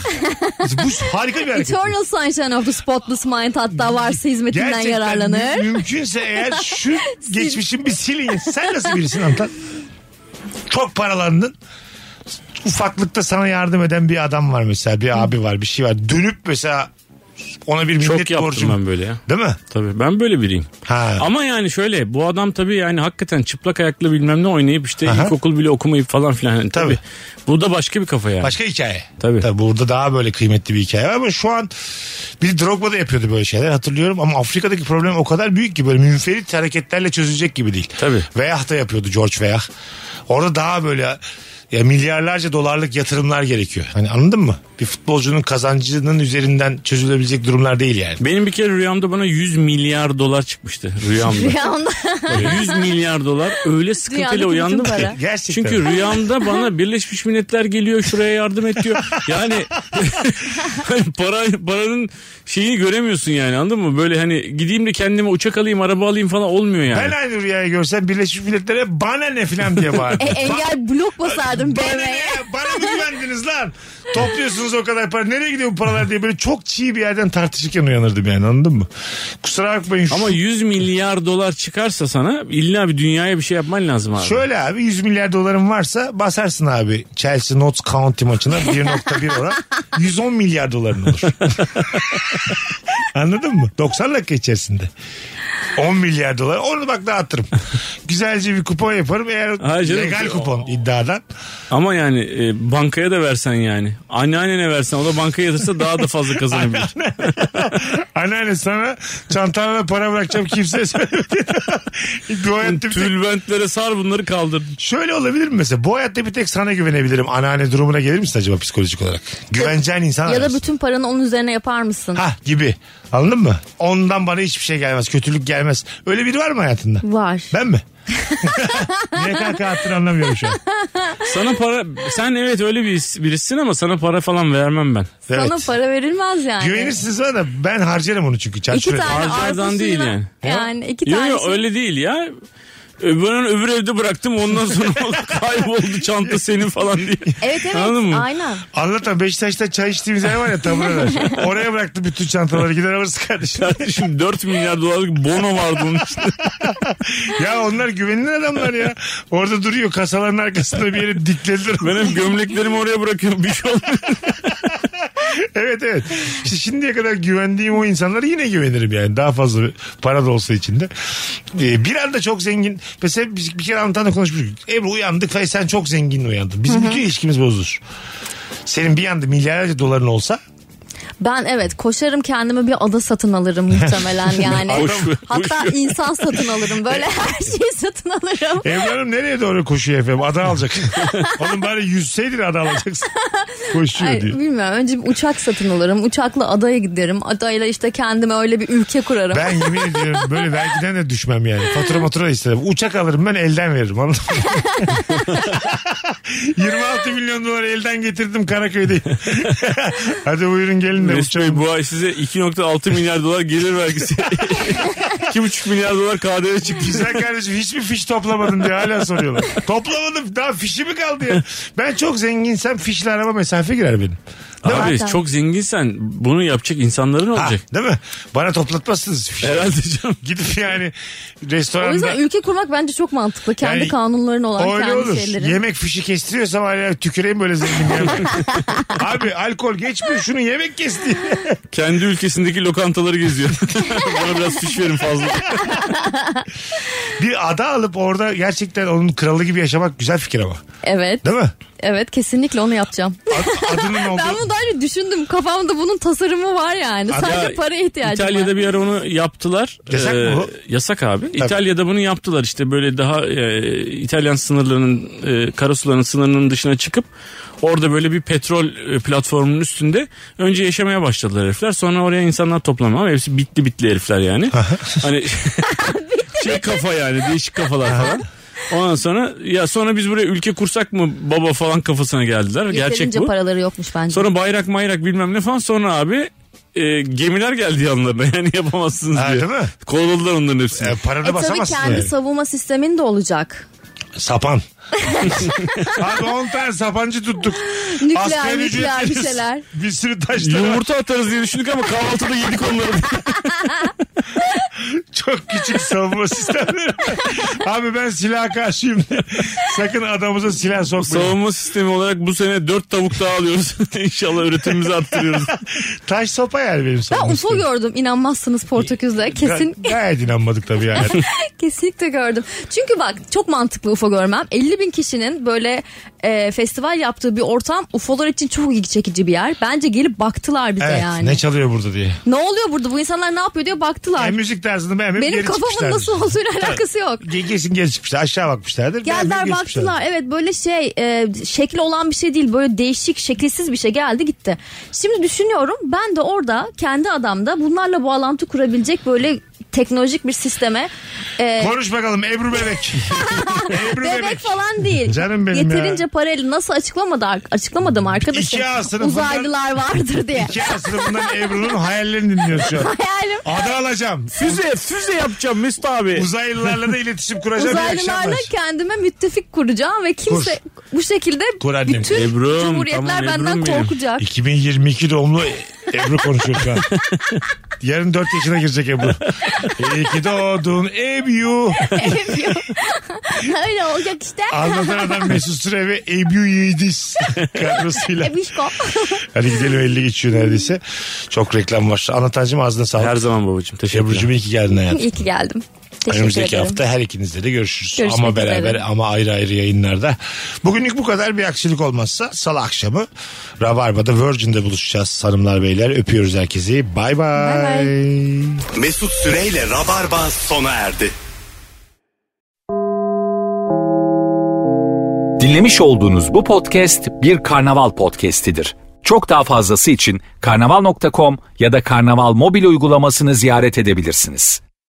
Speaker 3: Bu harika bir hareket.
Speaker 7: Eternal Sunshine of the Spotless Mind hatta varsa hizmetinden
Speaker 3: Gerçekten mü-
Speaker 7: yararlanır.
Speaker 3: mümkünse eğer şu geçmişin bir silin. Sen nasıl birisin Antan? Çok paralandın. Ufaklıkta sana yardım eden bir adam var mesela. Bir abi var bir şey var. Dönüp mesela ona bir
Speaker 4: Çok
Speaker 3: minnet
Speaker 4: yaptım
Speaker 3: borcum.
Speaker 4: ben böyle ya.
Speaker 3: Değil mi?
Speaker 4: Tabii ben böyle biriyim.
Speaker 3: Ha.
Speaker 4: Ama yani şöyle bu adam tabii yani hakikaten çıplak ayakla bilmem ne oynayıp işte
Speaker 3: Aha.
Speaker 4: ilkokul bile okumayıp falan filan. Yani tabii.
Speaker 3: Tabii.
Speaker 4: Bu da başka bir kafa yani.
Speaker 3: Başka hikaye.
Speaker 4: Tabii.
Speaker 3: Tabii burada daha böyle kıymetli bir hikaye var ama şu an bir Drogba da yapıyordu böyle şeyler hatırlıyorum ama Afrika'daki problem o kadar büyük ki böyle münferit hareketlerle çözülecek gibi değil.
Speaker 4: Tabii.
Speaker 3: Veyah da yapıyordu George Veyah. Orada daha böyle ya milyarlarca dolarlık yatırımlar gerekiyor. Hani anladın mı? Bir futbolcunun kazancının üzerinden çözülebilecek durumlar değil yani.
Speaker 4: Benim bir kere rüyamda bana 100 milyar dolar çıkmıştı rüyamda.
Speaker 7: Rüyamda.
Speaker 4: Böyle 100 milyar dolar öyle sıkıntıyla
Speaker 7: Dünyadaki
Speaker 4: uyandım
Speaker 7: bütün
Speaker 4: ki.
Speaker 7: para.
Speaker 3: Gerçekten.
Speaker 4: Çünkü rüyamda bana Birleşmiş Milletler geliyor şuraya yardım et diyor. Yani hani para, paranın şeyini göremiyorsun yani anladın mı? Böyle hani gideyim de kendime uçak alayım araba alayım falan olmuyor yani.
Speaker 3: Ben aynı rüyayı görsem Birleşmiş Milletler'e bana ne filan diye bağırdım.
Speaker 7: E, engel blok basardım
Speaker 3: Bana ne
Speaker 7: BM'ye.
Speaker 3: ya? Bana mı güvendiniz lan? Topluyorsunuz o kadar para. Nereye gidiyor bu paralar diye böyle çok çiğ bir yerden tartışırken uyanırdım yani anladın mı? Kusura bakmayın. Şu,
Speaker 4: Ama 100 milyar dolar çıkarsa sana illa bir dünyaya bir şey yapman lazım abi.
Speaker 3: Şöyle abi 100 milyar doların varsa basarsın abi Chelsea Notts County maçına 1.1 oran 110 milyar doların olur. Anladın mı? 90 dakika içerisinde. 10 milyar dolar. Onu bak dağıtırım. Güzelce bir kupon yaparım. Eğer
Speaker 4: Ha canım.
Speaker 3: legal kupon iddiadan.
Speaker 4: Ama yani e, bankaya da versen yani. Anneannene versen o da bankaya yatırsa daha da fazla kazanabilir.
Speaker 3: Anneanne sana çantana para bırakacağım kimseye söylemedi. Bu hayatta bir tek,
Speaker 4: Tülbentlere sar bunları kaldır.
Speaker 3: şöyle olabilir mi mesela? Bu hayatta bir tek sana güvenebilirim. Anneanne durumuna gelir misin acaba psikolojik olarak? Güveneceğin insan
Speaker 7: Ya da
Speaker 3: ararsın.
Speaker 7: bütün paranı onun üzerine yapar mısın?
Speaker 3: Ha gibi. Anladın mı? Ondan bana hiçbir şey gelmez. Kötülük gelmez. Öyle biri var mı hayatında?
Speaker 7: Var.
Speaker 3: Ben mi? Niye kanka attın anlamıyorum şu an.
Speaker 4: Sana para sen evet öyle bir birisin ama sana para falan vermem ben.
Speaker 3: Evet.
Speaker 7: Sana para verilmez yani.
Speaker 3: Güvenirsiniz bana da ben harcarım onu çünkü.
Speaker 7: İki
Speaker 3: Çarçur ederim.
Speaker 7: tane
Speaker 4: Harcardan
Speaker 7: arpa
Speaker 4: değil
Speaker 7: suyuna-
Speaker 4: yani.
Speaker 7: Yani iki
Speaker 4: Yok
Speaker 7: tane.
Speaker 4: yok öyle değil ya. Ö- Ben onu öbür evde bıraktım ondan sonra kayboldu çanta senin falan diye.
Speaker 7: Evet evet
Speaker 4: Anladın mı?
Speaker 7: aynen.
Speaker 3: Anlatan Beşiktaş'ta çay içtiğimiz yer var ya tam orada. Oraya bıraktı bütün çantaları gider alırsın kardeşim.
Speaker 4: Kardeşim 4 milyar dolarlık bono vardı onun içinde.
Speaker 3: Ya onlar güvenilir adamlar ya. Orada duruyor kasaların arkasında bir yere diklediler.
Speaker 4: Ben hep gömleklerimi oraya bırakıyorum bir şey olmuyor.
Speaker 3: evet evet. İşte şimdiye kadar güvendiğim o insanlara yine güvenirim yani. Daha fazla para da olsa içinde. Ee, bir anda çok zengin. Mesela biz bir kere Antalya'da konuşmuştuk. Ebru uyandık ve sen çok zengin uyandın. Bizim bütün ilişkimiz bozulur. Senin bir anda milyarlarca doların olsa
Speaker 7: Ben evet koşarım kendime bir ada satın alırım muhtemelen yani.
Speaker 3: Boş ver,
Speaker 7: Hatta
Speaker 3: boş ver.
Speaker 7: insan satın alırım. Böyle her şeyi satın alırım.
Speaker 3: Ebru Hanım nereye doğru koşuyor efendim? Ada alacak. Oğlum bari yüzseydin ada alacaksın. Koşuyor
Speaker 7: Ay,
Speaker 3: diyor.
Speaker 7: bilmiyorum önce bir uçak satın alırım. Uçakla adaya giderim. Adayla işte kendime öyle bir ülke kurarım.
Speaker 3: Ben yemin ediyorum böyle vergiden de düşmem yani. Fatura matura istedim. Uçak alırım ben elden veririm anladın mı? 26 milyon dolar elden getirdim Karaköy'de. Hadi buyurun gelin de
Speaker 4: Mesut Bey
Speaker 3: uçağım.
Speaker 4: bu ay size 2.6 milyar dolar gelir vergisi. 2.5 milyar dolar KDV çıktı.
Speaker 3: Güzel kardeşim hiç mi fiş toplamadın diye hala soruyorlar. Toplamadım daha fişi mi kaldı ya? Ben çok zenginsem fişle araba mesafe girer benim.
Speaker 4: Abi
Speaker 7: Zaten.
Speaker 4: çok zenginsen bunu yapacak insanların
Speaker 3: Ha,
Speaker 4: olacak.
Speaker 3: değil mi? Bana toplatmazsınız fişi.
Speaker 4: Herhalde canım.
Speaker 3: Gidip yani
Speaker 7: O
Speaker 3: restoranda...
Speaker 7: yüzden ülke kurmak bence çok mantıklı. Kendi
Speaker 3: Yani
Speaker 7: kanunların olan
Speaker 3: Öyle
Speaker 7: kendi
Speaker 3: olur.
Speaker 7: şeyleri.
Speaker 3: Yemek fişi kestiriyorsam hala tüküreyim böyle zengin yemek. Abi alkol geçmiyor şunu yemek kesti.
Speaker 4: Kendi ülkesindeki lokantaları geziyor. Bana biraz fiş verin fazla.
Speaker 3: bir ada alıp orada gerçekten onun kralı gibi yaşamak güzel fikir ama.
Speaker 7: Evet.
Speaker 3: Değil mi?
Speaker 7: Evet kesinlikle onu yapacağım.
Speaker 3: Ad- adının olduğu...
Speaker 7: Ben bunu daha önce düşündüm. Kafamda bunun tasarımı var yani.
Speaker 4: Abi
Speaker 7: Sadece
Speaker 4: ya,
Speaker 7: paraya ihtiyacım
Speaker 4: İtalya'da
Speaker 7: var.
Speaker 4: bir ara onu yaptılar. Ee,
Speaker 3: Yasak mı bu?
Speaker 4: Yasak abi. İtalya'da bunu yaptılar işte böyle daha e, İtalyan sınırlarının e, karasuların sınırının dışına çıkıp orada böyle bir petrol e, platformunun üstünde önce yaşamaya başladılar herifler. Sonra oraya insanlar toplanma ama hepsi bitli bitli herifler yani. hani şey kafa yani değişik kafalar falan. Ondan sonra ya sonra biz buraya ülke kursak mı baba falan kafasına geldiler. Gerçek
Speaker 7: Yeterince
Speaker 4: bu.
Speaker 7: paraları yokmuş bence. E
Speaker 4: Sonra bayrak mayrak bilmem ne falan sonra abi e, gemiler geldi yanlarına yani yapamazsınız
Speaker 3: Ha,
Speaker 4: diye.
Speaker 3: değil mi?
Speaker 4: Kovaladılar onların hepsini.
Speaker 3: E, paranı
Speaker 7: E tabii
Speaker 3: basamazsın
Speaker 7: kendi
Speaker 3: yani.
Speaker 7: savunma sistemin de olacak.
Speaker 3: Sapan. Abi 10 tane sapancı tuttuk.
Speaker 7: Nükleer,
Speaker 3: Asgari
Speaker 7: nükleer
Speaker 3: ücretli
Speaker 7: bir şeyler.
Speaker 3: Bir sürü taşlar var.
Speaker 4: Yumurta atarız diye düşündük ama kahvaltıda yedik onları.
Speaker 3: Çok küçük savunma sistemleri. Abi ben silah karşıyım. Sakın adamıza silah sokmayın.
Speaker 4: Savunma sistemi olarak bu sene dört tavuk daha alıyoruz. İnşallah üretimimizi arttırıyoruz.
Speaker 3: Taş sopa yer benim
Speaker 7: Ben
Speaker 3: savunma
Speaker 7: UFO
Speaker 3: sistemim.
Speaker 7: gördüm inanmazsınız Portekiz'de. Kesin
Speaker 3: Ga- Gayet inanmadık tabii yani.
Speaker 7: Kesinlikle gördüm. Çünkü bak çok mantıklı UFO görmem. 50 bin kişinin böyle e, festival yaptığı bir ortam UFO'lar için çok ilgi çekici bir yer. Bence gelip baktılar bize
Speaker 3: evet,
Speaker 7: yani.
Speaker 3: ne
Speaker 7: Ne,
Speaker 3: çalıyor burada diye.
Speaker 7: oluyor burada bu insanlar ne yapıyor diye baktılar.
Speaker 3: Hem müzik tarzını beğenmeyip
Speaker 7: Benim
Speaker 3: geri
Speaker 7: kafamın
Speaker 3: çıkmışlardır.
Speaker 7: nasıl olduğuyla alakası yok.
Speaker 3: Ge- Kesin geri çıkmışlar. Aşağı bakmışlardır. beğenmeyip
Speaker 7: Geldiler
Speaker 3: geri çıkmışlardır.
Speaker 7: baktılar. Evet böyle şey e, şekli olan bir şey değil. Böyle değişik şekilsiz bir şey geldi gitti. Şimdi düşünüyorum ben de orada kendi adamda bunlarla bağlantı kurabilecek böyle teknolojik bir sisteme e,
Speaker 3: Konuş bakalım Ebru Bebek. Ebru
Speaker 7: Bebek,
Speaker 3: Bebek.
Speaker 7: falan değil.
Speaker 3: Canım benim
Speaker 7: Yeterince
Speaker 3: ya.
Speaker 7: parayla nasıl açıklamadı açıklamadım arkadaşım.
Speaker 3: İki A sınıfından-
Speaker 7: Uzaylılar vardır diye.
Speaker 3: İki A sınıfından Ebru'nun hayallerini dinliyoruz şu an.
Speaker 7: Hayalim
Speaker 3: Ada alacağım.
Speaker 4: Füze, füze yapacağım Mesut abi.
Speaker 3: Uzaylılarla da iletişim kuracağım. İyi
Speaker 7: uzaylılarla
Speaker 3: akşamlar.
Speaker 7: kendime müttefik kuracağım ve kimse bu şekilde
Speaker 3: Kur annem.
Speaker 7: bütün
Speaker 4: Ebru'm,
Speaker 7: cumhuriyetler
Speaker 4: tamam Ebru'm
Speaker 7: benden
Speaker 4: benim.
Speaker 7: korkacak.
Speaker 3: 2022 doğumlu Ebru konuşuyor şu an. Yarın 4 yaşına girecek Ebru. İyi ki doğdun Ebru.
Speaker 7: Öyle olacak işte.
Speaker 3: Anlatan adam Mesut Süre ve Ebru Yiğidiz kadrosuyla.
Speaker 7: Ebişko.
Speaker 3: Hadi gidelim 50 geçiyor neredeyse. Çok reklam var. Anlatancım ağzına sağlık.
Speaker 4: Her zaman babacığım teşekkürler.
Speaker 3: Ebru'cum iyi ki geldin hayatım.
Speaker 7: İyi ki geldim. Teşekkür
Speaker 3: Önümüzdeki
Speaker 7: ederim.
Speaker 3: hafta her ikinizle de görüşürüz.
Speaker 7: Görüşmek
Speaker 3: ama beraber
Speaker 7: üzere.
Speaker 3: ama ayrı ayrı yayınlarda. Bugünlük bu kadar bir aksilik olmazsa salı akşamı Rabarba'da Virgin'de buluşacağız hanımlar beyler. Öpüyoruz herkesi. Bay
Speaker 7: Bay
Speaker 3: bay.
Speaker 2: Mesut Süreyle Rabarba sona erdi.
Speaker 1: Dinlemiş olduğunuz bu podcast bir karnaval podcastidir. Çok daha fazlası için karnaval.com ya da karnaval mobil uygulamasını ziyaret edebilirsiniz.